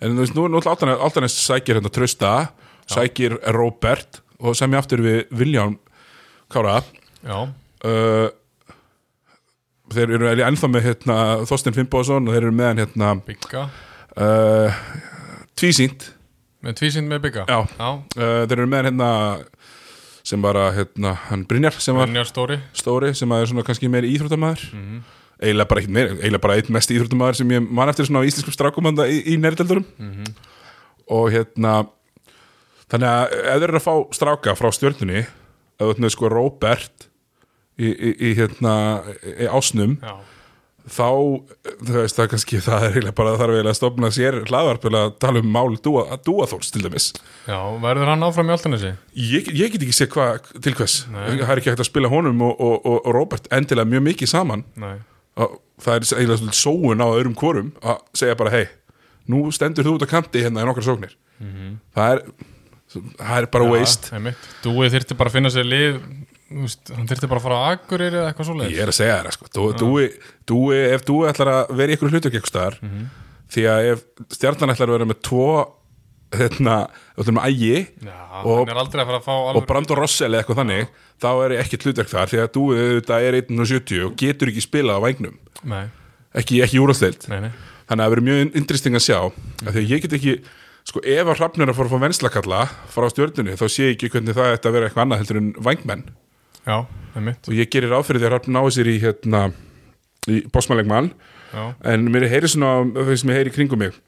Speaker 1: en þú veist, nú er náttúrulega Altanes sækir hérna Trösta, sækir Robert og sem ég aftur við Vilján Kára
Speaker 2: Já,
Speaker 1: uh, þeir eru eiginlega ennþá með hérna, Þorstein Finnbóðsson og þeir eru með hann hérna,
Speaker 2: bygga
Speaker 1: uh, tvísýnt
Speaker 2: með tvísind með bygga
Speaker 1: Já.
Speaker 2: já
Speaker 1: uh, þeir eru með hann hérna, sem bara hérna, hann Brynjar sem var
Speaker 2: Brynjar Stóri
Speaker 1: stóri sem að er svona kannski meiri íþróttamæður eiginlega bara eitt meir, eiginlega bara eitt mest íþróttamæður sem ég man eftir svona á íslenskum strákumanda í, í nærdeldurum og hérna þannig að ef þeir eru að fá stráka frá stjörnunni ef þú ert með sko Robert í, í, í hérna í ásnum
Speaker 2: Já,
Speaker 1: þá, þú veist, það er kannski það er eiginlega bara að þarf eiginlega að stofna sér hlaðvarpilega að tala um mál dúa, dúaþóls til dæmis
Speaker 2: já, verður hann áfram í Altanesi?
Speaker 1: Ég, ég get ekki séð hvað til hvers það er ekki hægt að spila honum og, og, og, og Robert endilega mjög mikið saman
Speaker 2: Nei
Speaker 1: og það er eiginlega svolítið sóun á öðrum kvorum að segja bara hei, nú stendur þú út á kanti hérna í nokkra sóknir það er það er bara waste
Speaker 2: Mhm. Já, einmitt. Dúið þyrfti bara að finna sér lið þú veist, hann þyrfti bara að fara á Akureyri eða eitthvað svoleiðis
Speaker 1: ég er að segja þér það sko Dú, dúi, dúi, ef dúi ætlar að vera í ykkur hlutur ekki staðar,
Speaker 2: Mhm.
Speaker 1: því að ef stjarnan ætlar að vera með tvo hérna, þú ætlar með ægi
Speaker 2: Já,
Speaker 1: Og-
Speaker 2: hann er aldrei að fara að fá
Speaker 1: og
Speaker 2: alveg
Speaker 1: Brandon Rossell eða eitthvað þannig þá er ekkert hlutverk þar því að dúið auðvitað er 1.70 og getur ekki spilað á vægnum
Speaker 2: Nei,
Speaker 1: ekki, ekki úrasteild
Speaker 2: nei, nei
Speaker 1: þannig að það verður mjög interesting að sjá af því að ég get ekki, sko ef að hrafnir að fara að fá venslakalla frá stjörnunni þá sé ég ekki hvernig það ætti að vera eitthvað annað heldur en vængmenn
Speaker 2: Já, einmitt
Speaker 1: og ég gerir ráð fyrir því að hrafnir náu sér í hérna, í bósmælegmann
Speaker 2: Já,
Speaker 1: en mér heyri svona, þau sem ég heyri í kringum mig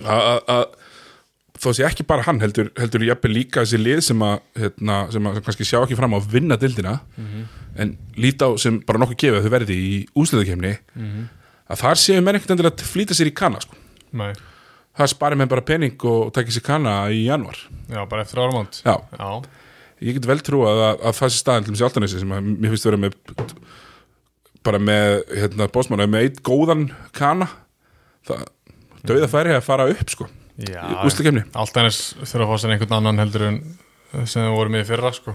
Speaker 1: að- að að- þó sé ekki bara hann heldur, heldur jafnvel líka þessi lið sem að, hérna, sem að sem kannski sjá ekki fram á að vinna dildina en líta á sem bara nokkuð gefið að þau verði í úsliðakefni að þar séu menn ekkert endilega að flýta sér í kanna sko.
Speaker 2: nei
Speaker 1: það spari menn bara pening og takki sér kanna í januar
Speaker 2: Já, bara eftir áramónd
Speaker 1: Já.
Speaker 2: Já,
Speaker 1: ég get vel trúað að, að það sé staðan til þessi altanesi sem að mér finnst að vera með bara með hérna, bósmanna með eitt góðan kana það döða færi að fara upp sko
Speaker 2: Já,
Speaker 1: úslakefni
Speaker 2: alltaf eins þurfa að fá sér einhvern annan heldur en eh, sem þau voru með í fyrra sko.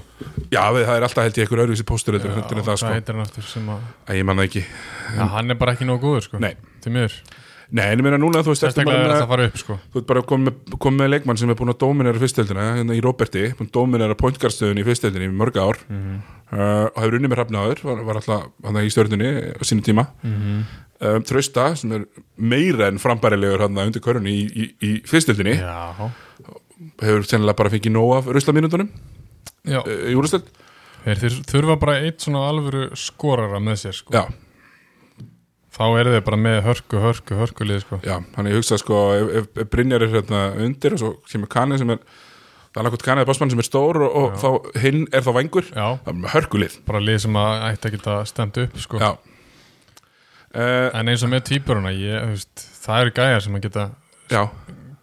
Speaker 1: Já, við, það er alltaf held ég einhver öðruvísi póstur heldur en heldur en það sko
Speaker 2: Hvað heitir hann aftur sem að
Speaker 1: Æ, ég manna ekki
Speaker 2: ja, Hann er bara ekki nógu góður sko.
Speaker 1: Nei.
Speaker 2: Til miður
Speaker 1: Nei, en ég meina núna, þú veist, ertu
Speaker 2: Sérstaklega
Speaker 1: bara
Speaker 2: er
Speaker 1: með-
Speaker 2: þetta að fara upp sko.
Speaker 1: þú ert bara komið með, kom með leikmann sem er búin að dóminera fyrstöldina, hérna í Róberti búin að dóminera pointgarstöðun í fyrstöldinni í mörg ár
Speaker 2: Mhm.
Speaker 1: uh, og hefur unni með hrafnaður var, var alltaf hann í stjörnunni á sínum tíma
Speaker 2: Mhm.
Speaker 1: um, Trausta sem er meira en frambærilegur hann undir körunni í, í, í fyrstöldinni
Speaker 2: Já,
Speaker 1: hefur sennilega bara fengið nóg af ruslaminundunum
Speaker 2: já.
Speaker 1: uh, í úrstöld
Speaker 2: Þeir, þeir þurfa bara eitt svona alvöru skorara með sér sko.
Speaker 1: já,
Speaker 2: Þá eru þeir bara með hörku, hörku, hörku lið sko.
Speaker 1: já, hann ég hugsa sko ef, ef, ef Brynjar er hérna undir og svo kemur Kani sem er það er annað hvort Kani eða Bossmann sem er stór og, og þá, hinn er þá vangur
Speaker 2: Já,
Speaker 1: það er með hörkulið
Speaker 2: bara lið sem að ætti að geta stemt upp sko.
Speaker 1: já Uh,
Speaker 2: En eins og með týpuruna, ég, þú veist, það eru gæjar sem að geta
Speaker 1: Já,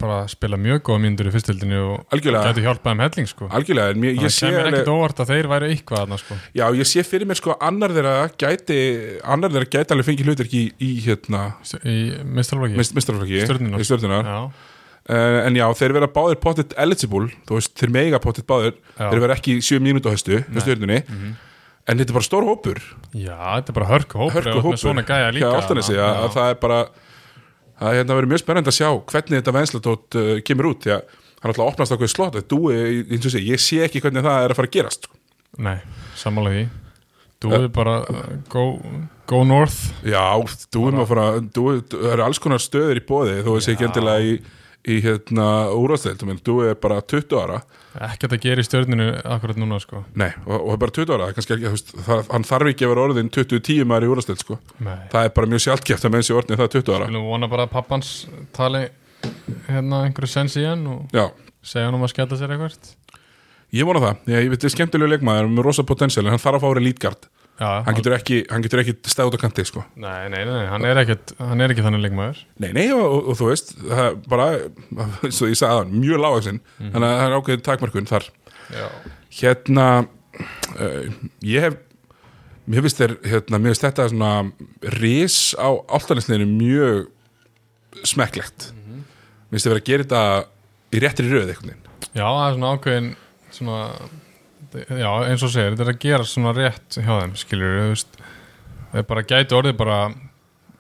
Speaker 2: bara að spila mjög góða myndur í fyrstöldinni og
Speaker 1: Algjörlega.
Speaker 2: gæti hjálpað um helling sko.
Speaker 1: algjörlega, en ég,
Speaker 2: Það
Speaker 1: ég sé
Speaker 2: kemur
Speaker 1: alveg,
Speaker 2: ekkert óvart að þeir væri eitthvað þarna sko.
Speaker 1: Já, ég sé fyrir mér sko annar þeirra gæti annar þeirra gæti alveg fengið hlutverk í, í hérna,
Speaker 2: Í mistalvaki
Speaker 1: mist, mistarflokki
Speaker 2: Stjörnuna.
Speaker 1: í stjörnuna,
Speaker 2: Já,
Speaker 1: uh, en já, þeir vera báðir pottet eligible, þú veist, þeir mega pottet báðir,
Speaker 2: Já. Mhm.
Speaker 1: þeir vera ekki í sjö mínútu á höstu, með stjörnunni, en þetta er bara stór hópur,
Speaker 2: já, þetta er bara hörku hópur
Speaker 1: hörku
Speaker 2: ef þú ert
Speaker 1: hópur
Speaker 2: með svona gæja líka
Speaker 1: hjá Álftanesi,
Speaker 2: þarna.
Speaker 1: að, að það er bara það er hérna verið mjög spennandi að sjá hvernig þetta venslatót uh, kemur út, því að hann alltaf opnast ákveð slott, þetta dúi, eins og sé, ég sé ekki hvernig það er að fara að gerast, sko.
Speaker 2: Nei, sammála því Þú er bara uh, go, go north
Speaker 1: Já, dúum að fara dúi, það eru alls konar stöður í bóði þó þessi ekki endilega í, í hérna, úrvasteld, dúi er bara 20 ára
Speaker 2: Ekkert að gera í stjörninu akkurat núna sko.
Speaker 1: Nei, og, og er bara 20 ára það er kannski, ekki, þú veist, það, hann þarf ekki að vera orðin 20-10 maður í úrvasteld, sko
Speaker 2: Nei,
Speaker 1: það er bara mjög sjálfgeft að menn sé orðin það 20 ára
Speaker 2: viljum vona bara að pappans tali hérna einhverju sens í hann og
Speaker 1: Já,
Speaker 2: segja hann um að skella sér eitthvað
Speaker 1: ég vona það, ég, ég veit, þetta er skemmtilegu leikmaður með rosa potensial, en hann þarf að fá orðin lítgard
Speaker 2: Já,
Speaker 1: hann getur ekki, hann getur ekki stæð út á kanti, sko
Speaker 2: Nei, nei, nei, hann er, ekkert, hann er ekki þannig leikmaður
Speaker 1: Nei, nei, og, og, og þú veist, það er bara [laughs] svo ég sagði það, mjög lágaksinn þannig að það er ákveðin takmarkun þar
Speaker 2: Já,
Speaker 1: hérna uh, ég hef mér finnst þér, hérna, mér finnst þetta svona ris á áltanisleinu mjög smekklegt mér finnst þér verið að gera þetta í réttri röð einhvern veginn
Speaker 2: það er svona ákveðin svona, já, eins og segir þetta er að gera svona rétt hjá þeim skilur, þú veist þeir bara gæti orðið bara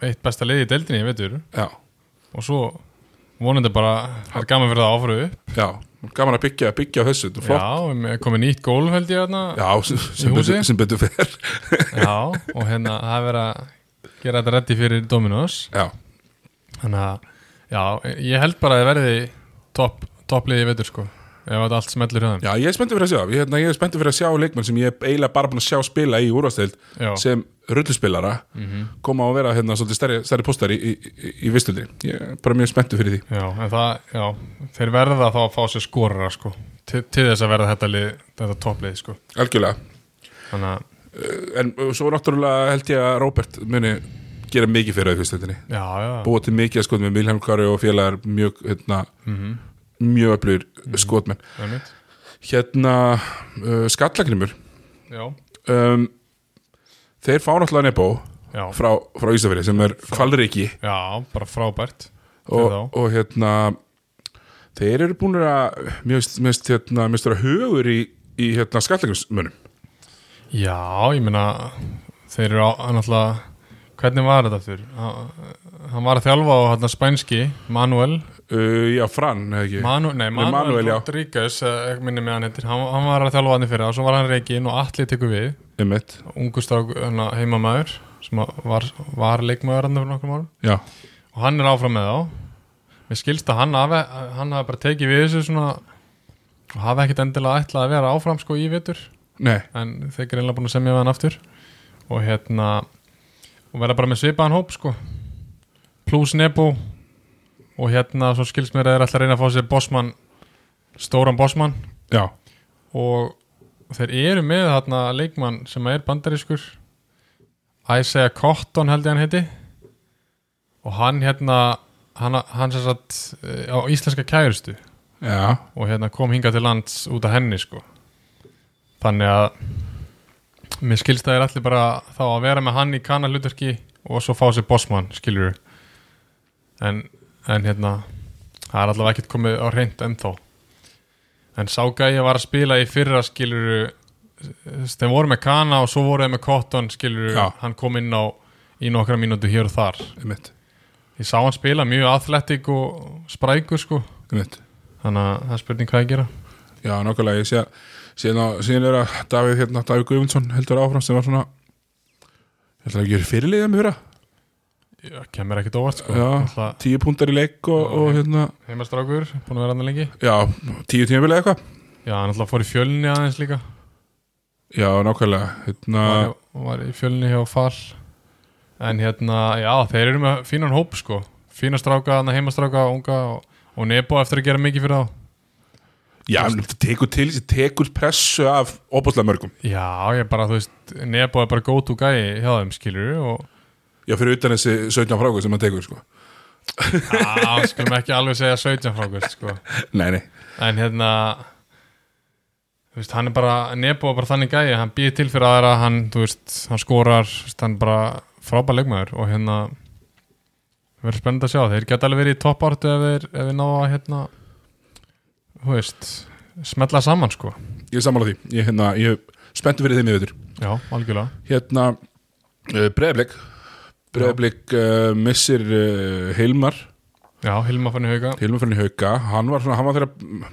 Speaker 2: eitt besta liði í deildinni, ég veitur
Speaker 1: já,
Speaker 2: og svo vonandi bara það er gaman fyrir það áfrið upp
Speaker 1: já, gaman að byggja, byggja á þessu, þetta er flott
Speaker 2: Já, komið nýtt gólf held ég þarna
Speaker 1: já, sem, sem,
Speaker 2: Í húsi?
Speaker 1: betur, sem betur fer [laughs]
Speaker 2: Já, og hérna það er verið að gera þetta reddi fyrir Dominos
Speaker 1: já,
Speaker 2: Þannig að, já, ég held bara að það verði topp top liði í veitur sko ef þetta allt smetlur hjá þeim
Speaker 1: já, ég er spenntið fyrir að sjá ég, hérna, ég er spenntið fyrir að sjá leikmenn sem ég er eiginlega bara búin að sjá spila í úrvasteld
Speaker 2: Já. Mhm.
Speaker 1: sem rulluspilara koma að vera hérna svolítið stærri, stærri póstar í, í, í, í vistöldri ég er bara mjög spenntið fyrir því
Speaker 2: Já, en það, já, þeir verða þá að fá sér skorara, sko, til, til þess að verða þetta lið, þetta topplið, sko.
Speaker 1: algjörlega
Speaker 2: Þannig að,
Speaker 1: en uh, svo náttúrulega held ég að Robert muni gera mikið fyrir það í fyrstöldinni
Speaker 2: já, já,
Speaker 1: búið til mikið að skotmenn, með Vilhelm Kari og félagar mjög, hérna mjög öflur skotmenn
Speaker 2: Mhm, einmitt,
Speaker 1: hérna uh, skallagrimur
Speaker 2: já,
Speaker 1: um, þeir fá náttúrulega Nebo
Speaker 2: já,
Speaker 1: frá, frá Ísafirði sem er kvalriki
Speaker 2: já, bara frábært.
Speaker 1: og,
Speaker 2: fyrir þá.
Speaker 1: og hérna þeir eru búin að mér finnst- mér finnst hérna, mér finnst vera hugur í, í hérna skallagrimsmönnum
Speaker 2: Já, ég meina, þeir eru á, hann alltaf, hvernig var þetta fyrir? Hann- Hann var að þjálfa á hann spænski, Manuel,
Speaker 1: uh, já, Fran, eða ekki
Speaker 2: Manu, nei, Manuel,
Speaker 1: Manuel, já.
Speaker 2: Rodríguez, eh, ekki minni með hann heitir, hann, hann var að þjálfa hann fyrir og svo var hann reikinn og allir tekur við,
Speaker 1: Einmitt.
Speaker 2: ungustáku, hann hérna, heimamaður, sem að var, var leikmaður hann fyrir nokkrum árum.
Speaker 1: já,
Speaker 2: og hann er áfram með þá mér skilst að hann hafi, hann hafi bara tekið við þessu svona og hafi ekkit endilega ætlað að vera áfram sko í vitur
Speaker 1: nei,
Speaker 2: en þeir eru einlega búin að semja við hann aftur og hérna og vera bara með svipaðan hóp sko plus nebo og hérna svo skilst mér að þeir ætla að reyna að fá sér bossmann, stóran bossmann
Speaker 1: já
Speaker 2: og þeir eru með þarna leikmann sem er bandarískur Isaiah Cotton held ég hann heiti og hann hérna hann, hann sem sagt eh, á íslenska kærustu
Speaker 1: já,
Speaker 2: og hérna kom hingað til lands út af henni sko þannig að mér skilst að þeir allir bara þá að vera með hann í kanalutverki og svo fá sér bossmann skilur en, en hérna það er allavega ekkert komið á reynd ennþá en sáka ég var að spila í fyrra skiluru þeim voru með Kana og svo voru þeim með Cotton skiluru,
Speaker 1: Já.
Speaker 2: hann kom inn á í nokkra mínútu hér og þar
Speaker 1: einmitt,
Speaker 2: ég sá hann spila mjög athletic og sprækur sko,
Speaker 1: einmitt.
Speaker 2: þannig að það er spurning hvað ég gera
Speaker 1: Já, nokkulega, ég sé að síðan, á- síðan er að Davíð hérna, Davíð Guðmundsson heldur áfram sem var svona heldur að gera fyrirliðið með fyrra
Speaker 2: Já, kemur ekkert óvart sko
Speaker 1: já,
Speaker 2: Alltaf
Speaker 1: tíu púntar í leik og,
Speaker 2: Já,
Speaker 1: og hérna,
Speaker 2: heimastrákur, búin að vera hann lengi
Speaker 1: já, tíu tímabilið eitthvað
Speaker 2: Já, hann alltaf fór í fjölni aðeins líka
Speaker 1: Já, nokkulega, hérna
Speaker 2: var, var í fjölni hjá Fall En hérna, já, þeir eru með fínan hóp sko Fína stráka, hann heimastráka, unga og, og Nebo eftir að gera mikið fyrir þá
Speaker 1: Já, en þetta tekur til, þetta tekur pressu af opaslega mörgum
Speaker 2: Já, ég bara, þú veist, Nebo er bara go to guy hjá þeim, skilur og
Speaker 1: Já, fyrir utan þessi 17 fráku sem hann tekur, sko
Speaker 2: já, skulum ekki alveg segja 17 frákvist sko
Speaker 1: Nei, nei,
Speaker 2: En hérna þú veist, hann er bara, Nebo er bara þannig gæi hann býr til fyrir aðra, hann, þú veist hann skorar, þú veist, hann er bara frábær leikmaður og hérna verður spennandi að sjá, þeir geta alveg verið í toppartu ef þeir, ef þeir ná að hérna þú veist smetla saman sko,
Speaker 1: ég er sammála því Ég, hérna, ég er spenntur fyrir þeim í veitur
Speaker 2: já, algjörlega
Speaker 1: Hérna, uh, Breiðblik Breiðblik uh, missir uh, Hilmar
Speaker 2: já, Hilma fann í hauga,
Speaker 1: Hilmafjörn í hauka, hann var svona hann var, þeirra,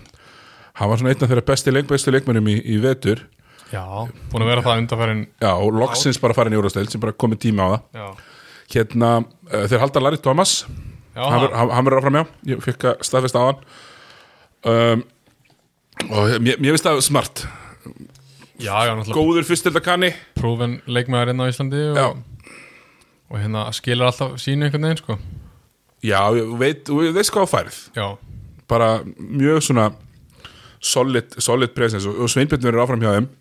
Speaker 1: hann var svona einn af þeirra besti, leik, bestu leikmennum í, í vetur
Speaker 2: já, búin að vera það undarfærin,
Speaker 1: já, og loksins bara farin í úrvasteld sem bara komið tíma á það
Speaker 2: já
Speaker 1: hérna, uh, þeir halda Larry Thomas
Speaker 2: já,
Speaker 1: hann verður- hann- hann verður áfram já, ég fekk að staðfesta á hann um, og mér, mér finnst það smart
Speaker 2: já, já, náttúrulega
Speaker 1: góður fyrstelda kanni
Speaker 2: prófin leikmaður inn á Íslandi
Speaker 1: já,
Speaker 2: og, og hérna skilur alltaf sínu einhvern veginn sko,
Speaker 1: já ég veit, þú veist hvað á færið
Speaker 2: já
Speaker 1: bara mjög svona solid, solid presence og, og Sveinbjörn verður áfram hjá þeim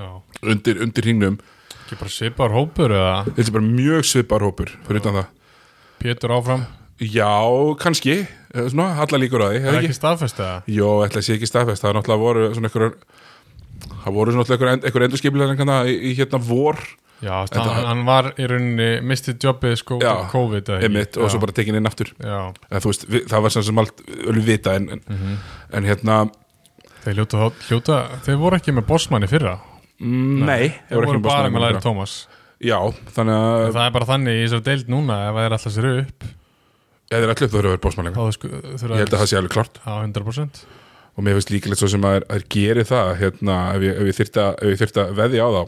Speaker 2: Já,
Speaker 1: undir, undir hringnum
Speaker 2: ekki bara svipar hópur eða
Speaker 1: þetta er bara mjög svipar hópur fyrir utan það
Speaker 2: Pétur áfram
Speaker 1: Já, kannski, Eh, svona, alla líkur á því,
Speaker 2: Er
Speaker 1: hefði
Speaker 2: ekki
Speaker 1: ekki?
Speaker 2: staðfest eða?
Speaker 1: Jó, ætla að sé ekki staðfest, það er náttúrulega voru svona einhverjar, það voru svona einhverjar end, einhver endurskipilegar en kannar í, í hérna vor,
Speaker 2: Já, hann, hann var í rauninni mistið jobbið sko út af
Speaker 1: Já,
Speaker 2: COVID eða ekki?
Speaker 1: emitt, og
Speaker 2: já,
Speaker 1: svo bara tekin inn aftur.
Speaker 2: Já,
Speaker 1: Eða, þú veist, við, það var sem sem allt öllu vita, en, en, en hérna,
Speaker 2: þeir hljóta, þá- hljóta Þeir voru ekki með bossmanni fyrra
Speaker 1: mm, nei, það
Speaker 2: Þeir voru,
Speaker 1: ekki með
Speaker 2: bara
Speaker 1: Bosman
Speaker 2: með Læri
Speaker 1: lengra.
Speaker 2: Tómas
Speaker 1: Já, þannig að,
Speaker 2: Það er bara þannig í þessar deild núna ef þeir alltaf sér upp
Speaker 1: ja, það er allir upp það að vera bósmann
Speaker 2: þá
Speaker 1: lengra.
Speaker 2: þau sku, þurfa
Speaker 1: Ég held að það sé alveg klart
Speaker 2: Já, 100%
Speaker 1: og mér finnst líkilegt svo sem að er, er geri það, hérna, ef ég, ef ég þyrfti að- ef ég þyrfti að veðja á þá.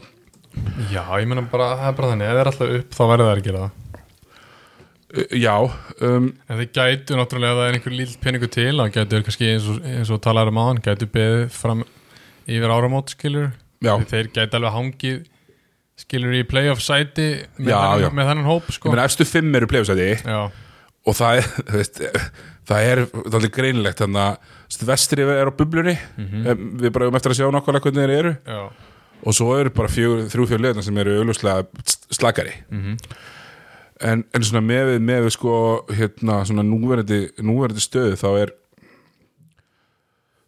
Speaker 2: Já, ég meina bara, það er bara þannig Ef þeir alltaf upp þá verður það að gera það
Speaker 1: Eh, Já, um,
Speaker 2: En þeir gætu náttúrulega ef það er einhver lill peningu til þá gætu þeir kannski eins og, eins og talaður um aðan gætu beðið fram yfir áramót skilur
Speaker 1: já.
Speaker 2: þeir gæti alveg hangið skilur í playoff sæti með,
Speaker 1: Já,
Speaker 2: þennan,
Speaker 1: já.
Speaker 2: með þennan hóp sko.
Speaker 1: Ég meina, efstu fimm eru plefisæti
Speaker 2: já,
Speaker 1: og það er, þú veist, það er allir greinilegt, þannig að þú veist, vestri er á bublunni, em, við bara höfum eftir að sjá nokkvæmlega hvernig þeir eru
Speaker 2: já,
Speaker 1: og svo eru bara fjögur, þrjú fjör liðna sem eru auðvitað slakari
Speaker 2: Mhm.
Speaker 1: en, en svona með við, með við sko, hérna, svona núverandi núverandi stöðu, þá er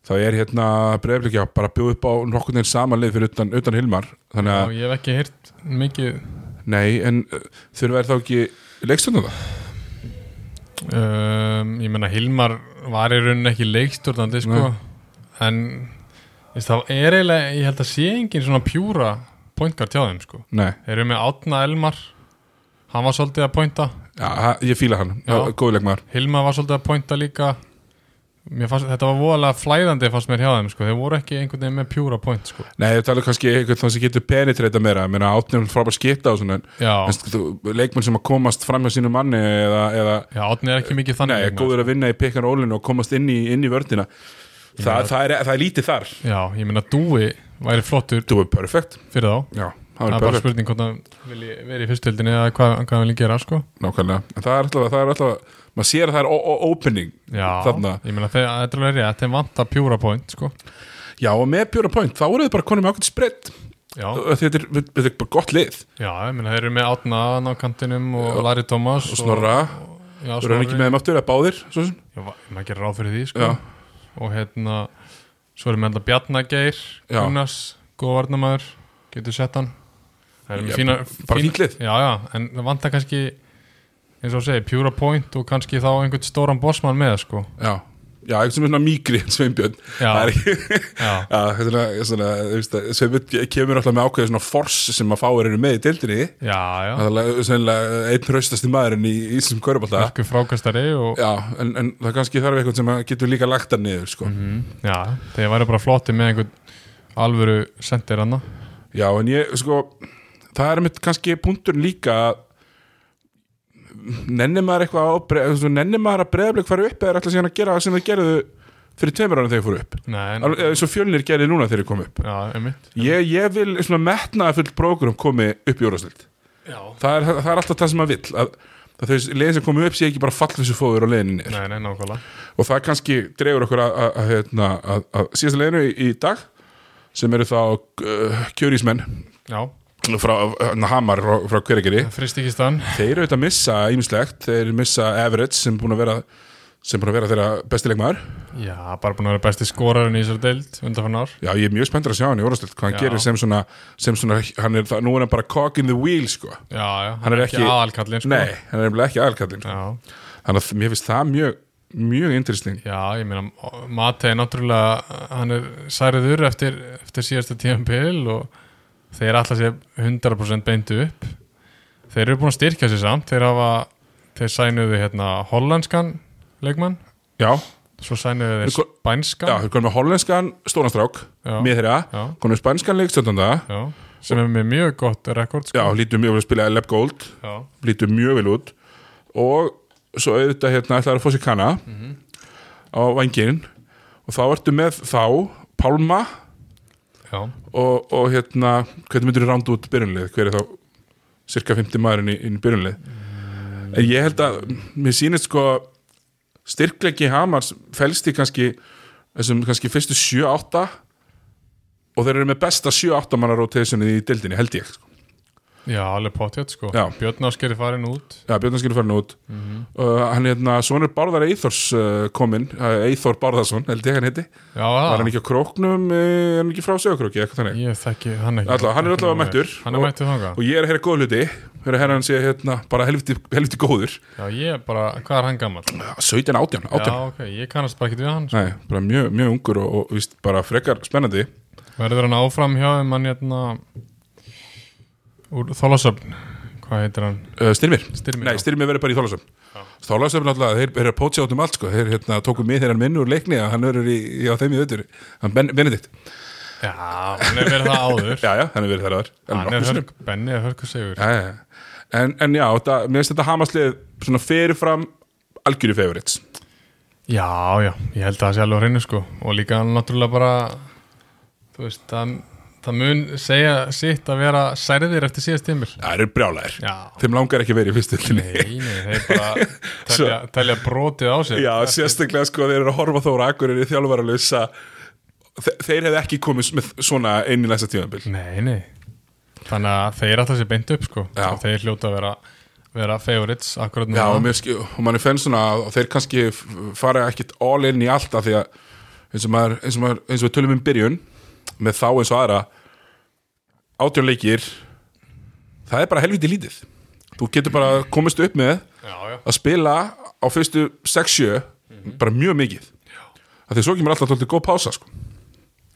Speaker 1: þá er hérna breyflikja bara að bjóða upp á nokkurn veginn samanlið fyrir utan, utan Hilmar þannig
Speaker 2: já,
Speaker 1: að,
Speaker 2: ég hef ekki heyrt mikið
Speaker 1: nei, en uh, þurfa er þá ekki leikstundum það?
Speaker 2: um, ég meina Hilmar var í rauninni ekki leikstjórnandi sko. en veist, það er eiginlega, ég held að sé engin svona pjúra pointgar hjá þeim sko.
Speaker 1: Nei,
Speaker 2: þeir eru með Átna Elmar hann var svolítið að pointa
Speaker 1: ja, ha- ég fíla hann,
Speaker 2: Já.
Speaker 1: góðleikmaður
Speaker 2: Hilmar var svolítið að pointa líka Mér fannst, þetta var voðalega flæðandi fannst mér hjá þeim sko. þeir voru ekki einhvern veginn með pjúra point sko.
Speaker 1: Nei, ég tala kannski einhvern þannig sem getur penetreita meira, ég meina átnum frábær skipta og svona, en
Speaker 2: já,
Speaker 1: en þú- leikmenn sem að komast fram hjá sínu manni eða, eða
Speaker 2: já, Átni er hérna, sko. ekki mikið þannig
Speaker 1: nei,
Speaker 2: leikmaður,
Speaker 1: góður að vinna í pekkan rólinu og komast inn í, inn í vördina Þa, það, er, það er lítið þar
Speaker 2: Já, ég meina Dúi væri flottur
Speaker 1: Þú er perfect
Speaker 2: fyrir þá
Speaker 1: Já, það
Speaker 2: Það
Speaker 1: er
Speaker 2: er bara
Speaker 1: perfect,
Speaker 2: spurning hvort hann vilji verið í fyrstöldinni eða hvað, hvað hann vilji gera sko
Speaker 1: nákvæmlega En það er alltaf, það er alltaf, maður sér að það er o- o- opening
Speaker 2: Já,
Speaker 1: Þarna.
Speaker 2: ég meina þeir, þetta er alveg rétt, þeim vantar pjúra point sko
Speaker 1: Já, og með Bjóra Point, þá eru þið bara konum með ákveðt spread
Speaker 2: Já,
Speaker 1: Þetta er, þetta er bara gott lið
Speaker 2: já ég meina þeir eru með Átna á kantinum og Larry Thomas
Speaker 1: og Snorra,
Speaker 2: Já,
Speaker 1: þú eru ekki með þeim aftur eða báðir, svo sem
Speaker 2: Já, maður gerir ráð fyrir því sko
Speaker 1: Já,
Speaker 2: Og hérna, svo erum við enda Bjarnageir,
Speaker 1: Já.
Speaker 2: Gunnars, góð varnamaður, getur sett hann Það eru
Speaker 1: Já,
Speaker 2: með fína
Speaker 1: bara
Speaker 2: fín-
Speaker 1: fínt lið.
Speaker 2: Já, já, en það vantar kannski, eins og þú segir, pjúra point og kannski þá einhvern stóran bossmann með sko
Speaker 1: já já, eitthvað sem er svona mýgri en Sveinbjörn
Speaker 2: Já.
Speaker 1: Það er ekki- [laughs]
Speaker 2: Já.
Speaker 1: já, þetta er svona, svona þú veist að Sveinbjörn kemur alltaf með ákveðið svona force sem að fáir eru með í deildinni
Speaker 2: já, já,
Speaker 1: það er sennilega eh, einn raustasti maðurinn í íslenskum körubólta
Speaker 2: verku frákastari og
Speaker 1: já, en, en það kannski þarf eitthvað sem að getur líka lagt það niður sko.
Speaker 2: Mhm. já, þegar væri bara flotti með einhvern alvöru sendir hana
Speaker 1: já, en ég, sko það er mitt kannski punktur líka að nennir maður eitthvað á Bre- þú veist, nennir maður að breyðablik fara upp eða er alltaf síðan að gera það sem þau gerðu fyrir tveimur ára þegar þau fóru upp
Speaker 2: Nei, en,
Speaker 1: Alveg- eins og fjölnir gerði núna þegar þau komu upp
Speaker 2: já, einmitt
Speaker 1: ég, ég vil svona metnaða full prógrum komi upp í úrvarsleild
Speaker 2: Já,
Speaker 1: það er, það er alltaf það sem maður vill að, að þau leiðin sem komu upp sé ekki bara fallfissu fóður á leiðinni niður
Speaker 2: nei, nei, nákvæmlega
Speaker 1: og það kannski dregur okkur að, að, að, hérna, að, að síðasta leiðinu í, í dag sem eru þá uh, kjörísmenn
Speaker 2: Já,
Speaker 1: frá uh, Hamar frá, frá Hverigeri
Speaker 2: fristikistan
Speaker 1: þeir eru auðvitað að missa ímislegt þeir missa Everett sem búin að vera sem búin að vera þeirra bestilegmaður
Speaker 2: Já, bara búin að vera besti skorarinn í þessari deild undanfann ár
Speaker 1: já, ég er mjög spenntur að sjá hann í orðastöld hvað hann
Speaker 2: Já.
Speaker 1: gerir sem svona, sem svona hann er, það, nú er hann bara cog in the wheel sko.
Speaker 2: Já, já, hann,
Speaker 1: er
Speaker 2: er ekki,
Speaker 1: ekki-
Speaker 2: aðalkallinn sko.
Speaker 1: nei, hann er nefnilega ekki aðalkallin sko.
Speaker 2: Já,
Speaker 1: þannig að mér finnst það mjög mjög interesting
Speaker 2: Já, ég meina, Matei náttúrulega, hann er særiður eftir, eftir síðasta tíðanpil og þeir alltaf sé 100% beintu upp. Þeir eru búin að styrkja sér samt, þeir hafa, þeir sænuðu hérna hollenskan leikmann,
Speaker 1: já,
Speaker 2: svo sænuðu þeir
Speaker 1: Sko- já,
Speaker 2: spænskan,
Speaker 1: þau komum með hollenskan stóranstrák,
Speaker 2: Já.
Speaker 1: með þeirra
Speaker 2: Já.
Speaker 1: komum með spænskan leikstöndan
Speaker 2: já, sem er með mjög gott rekord,
Speaker 1: Já,
Speaker 2: sko.
Speaker 1: lítur mjög vel að spila Lab Gold
Speaker 2: Já,
Speaker 1: lítur mjög vel út og svo auðvitað hérna ætlaður að fá sér kanna á vangin og þá ertu með þá Pálma
Speaker 2: já,
Speaker 1: og, og hérna, hvernig myndir þú ránda út byrjunlið, hver er þá cirka 50 maðurinn í, í byrjunlið en ég held að, mér sýnist sko styrklegi Hamars felst í kannski þessum kannski fyrstu 7-8 og þeir eru með besta 7-8 manna rotationið í dildinni, held ég sko.
Speaker 2: já, alveg potjött, sko.
Speaker 1: Já.
Speaker 2: Björn Ásker er farin út,
Speaker 1: Já, Björnarskjölu farin út
Speaker 2: Mhm.
Speaker 1: uh, Hann hérna, sonur Bárðar Eithors uh, kominn, uh, Eithor Bárðarsson held ég hann heiti,
Speaker 2: já,
Speaker 1: var hann
Speaker 2: það,
Speaker 1: ekki á króknum uh, er hann ekki frá sögurkróki, eitthvað þannig
Speaker 2: ég þekki hann ekki.
Speaker 1: Alla- hann er allavega mættur.
Speaker 2: Hann er
Speaker 1: Og-
Speaker 2: mættur þangað.
Speaker 1: og ég er að heyra góð hluti heyra herra hann sé hérna, bara helviti, helviti góður
Speaker 2: Já, ég er bara, hvað er hann gammal?
Speaker 1: 17, 18, 18
Speaker 2: Já, ok, ég kannast bara ekki við hann sko.
Speaker 1: Nei, bara mjög, mjög ungur og, og víst, bara frekar spennandi
Speaker 2: Verður hann áfram hjá þeim hann hérna úr Þólasöfn Hvað heitir hann?
Speaker 1: uh, Styrmir,
Speaker 2: Styrmir,
Speaker 1: nei,
Speaker 2: já.
Speaker 1: Styrmir verður bara í Þólasöfn Þólasöfn alltaf, þeir þeir eru að pótsja út um allt sko. þeir hérna, tóku mið þeirra minn úr leikni að hann verður í, í, á þeim í öður hann ben, Benedikt,
Speaker 2: Já, hann er verið það áður
Speaker 1: [laughs] já já, hann er verið þeirra þar En
Speaker 2: Hann
Speaker 1: nokkrum
Speaker 2: er
Speaker 1: sinnum.
Speaker 2: hörk, Benni er hörku segur
Speaker 1: Já, já, já. En, en já, þetta, mér finnst þetta hamaslið svona fyrirfram algjöru favorites
Speaker 2: Já, já, ég held að það sé alveg á hreinu sko Og líka hann náttúrulega bara Þú veist, það, það mun segja sitt að vera særðir eftir síðast tímil
Speaker 1: Það eru brjálæðir
Speaker 2: Já.
Speaker 1: Þeim langar ekki að vera í fyrstu hlinni
Speaker 2: Nei, nei, þeir bara telja, telja brotið á sér
Speaker 1: [laughs] Já, sérstaklega sko þeir eru að horfa þóra akkurir í þjálfaralösa Þe Þeir hefði ekki komið með svona einn í læsa tíðanbíl
Speaker 2: Nei, nei Þannig að þeir alltaf sér beint upp sko
Speaker 1: Já.
Speaker 2: Svo Þeir hljóta að vera, vera favorites akkurat
Speaker 1: Já,
Speaker 2: núna
Speaker 1: og, mér skil, og mann er fenn svona að þeir kannski f- fara ekkit all in í allt af því að eins og, maður, eins, og maður, eins og við tölum um byrjun með þá eins og aðra átjón leikir það er bara helviti lítið þú getur bara komist upp með
Speaker 2: já, já.
Speaker 1: að spila á fyrstu 6-7 bara mjög mikið að því svo kemur alltaf tóltið góð pása sko.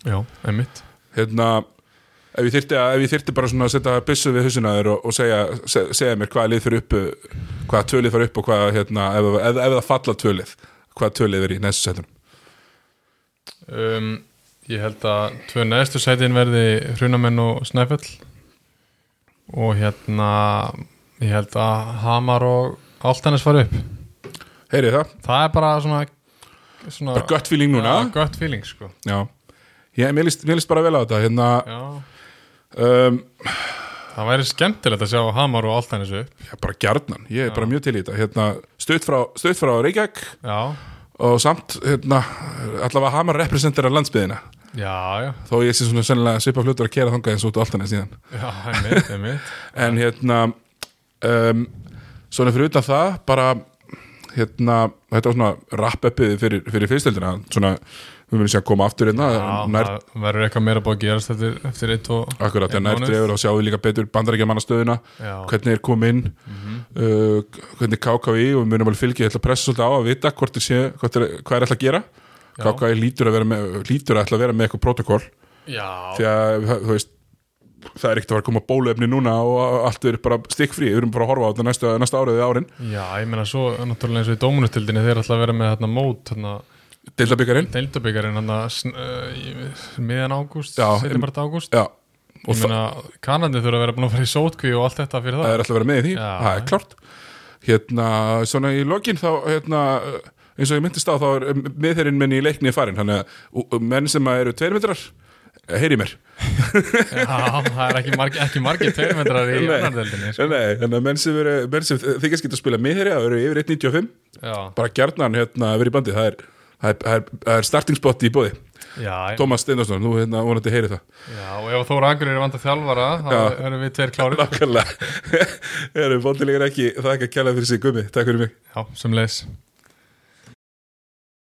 Speaker 2: Já, einmitt
Speaker 1: hérna ef ég þyrti, að, ef ég þyrti bara svona að setja byssu við hausina á þér og, og segja, se, segja mér hvaða lið fyrir upp uh, hvaða tölið fyrir upp og hvaða hérna, ef, ef, ef það falla tölið hvaða tölið er í næstu setunum
Speaker 2: um, Ég held að tvö neðstu sætin verði Hrunamenn og Snæfell og hérna ég held að Hamar og Altanes fari upp
Speaker 1: heyrið það,
Speaker 2: Það er bara svona, svona
Speaker 1: bara gött feeling núna
Speaker 2: ja, gött feeling sko
Speaker 1: já, ég, mér, líst, mér líst bara vel á þetta hérna,
Speaker 2: já.
Speaker 1: um,
Speaker 2: Það væri skemmtilegt að sjá Hamar og Altanes upp
Speaker 1: já, bara gjarnan ég er bara mjög til í þetta hérna, stutt, frá, stutt frá Reykjavík
Speaker 2: Já,
Speaker 1: og samt hérna, allavega hamar representerar landsbyðina
Speaker 2: já, já,
Speaker 1: þó ég sé svona sennilega svipa flutur að kera þangað eins út á alltaf síðan
Speaker 2: já einmitt, einmitt
Speaker 1: en hérna um, svona fyrir utan það bara hérna, þetta var svona rap-uppið fyrir, fyrir fyrstöldina svona, við munum sér að koma aftur hérna
Speaker 2: Já,
Speaker 1: nær,
Speaker 2: það verður eitthvað meira búið að gerast eftir, eftir eitt og
Speaker 1: akkurat,
Speaker 2: einn
Speaker 1: en nær
Speaker 2: mánuð.
Speaker 1: dregur og sjáum við líka betur bandarækja mannastöðuna
Speaker 2: Já. Mhm.
Speaker 1: hvernig er komin uh, hvernig KKV og við munum alveg fylgja, ég ætla að pressa svolítið á að vita hvort þið sé, hvort er, hvað er ætla að gera
Speaker 2: Já.
Speaker 1: KKV lítur að vera með, lítur að ætla að vera með eitthvað protokoll,
Speaker 2: Já,
Speaker 1: því að það- þú veist, það er ekkert að fara að koma bóluefni núna og allt er bara stikkfrí, við erum bara að horfa á þetta næsta, næsta árið eða árin,
Speaker 2: já, ég meina svo náttúrulega eins og í dómunutildinni þeir alltaf vera með hérna mót hérna,
Speaker 1: deildabikarinn
Speaker 2: deildabyggarinn hérna sn- uh, í- miðjan ágúst,
Speaker 1: Já,
Speaker 2: setjum bara ágúst
Speaker 1: já, og
Speaker 2: Ég meina, kanandi þurfa að vera búin að fara í sótkví og allt þetta fyrir
Speaker 1: það
Speaker 2: það
Speaker 1: er alltaf að vera með í því,
Speaker 2: Já.
Speaker 1: það er klart hérna, svona í lokin þá, hérna, eins og ég myndist á þá er miðherinn minn í leikni farin þannig að og- og menn sem að eru tveir metrar heyri mér,
Speaker 2: Já, það er ekki margir, ekki margir tveirmetrar í
Speaker 1: Nei.
Speaker 2: annardeldinni sko.
Speaker 1: nei, þannig að menn sem, eru, menn sem þykast geta að spila miðherri það eru yfir 1.95,
Speaker 2: Já,
Speaker 1: bara gjarnan hérna, verið í bandi, það er, það er, það er, það er starting spot í bóði,
Speaker 2: já,
Speaker 1: Tómas Steindarsson þú hérna vonandi heyri það [laughs]
Speaker 2: já, og ef Þóra Akureyri er vant að þjálfara, þá
Speaker 1: Já.
Speaker 2: erum við tveir [laughs] klárir
Speaker 1: [laughs] Nákvæmlega, erum vondilegar ekki það er ekki að kjæla fyrir sig gummi, takk fyrir mig
Speaker 2: Já, sem leys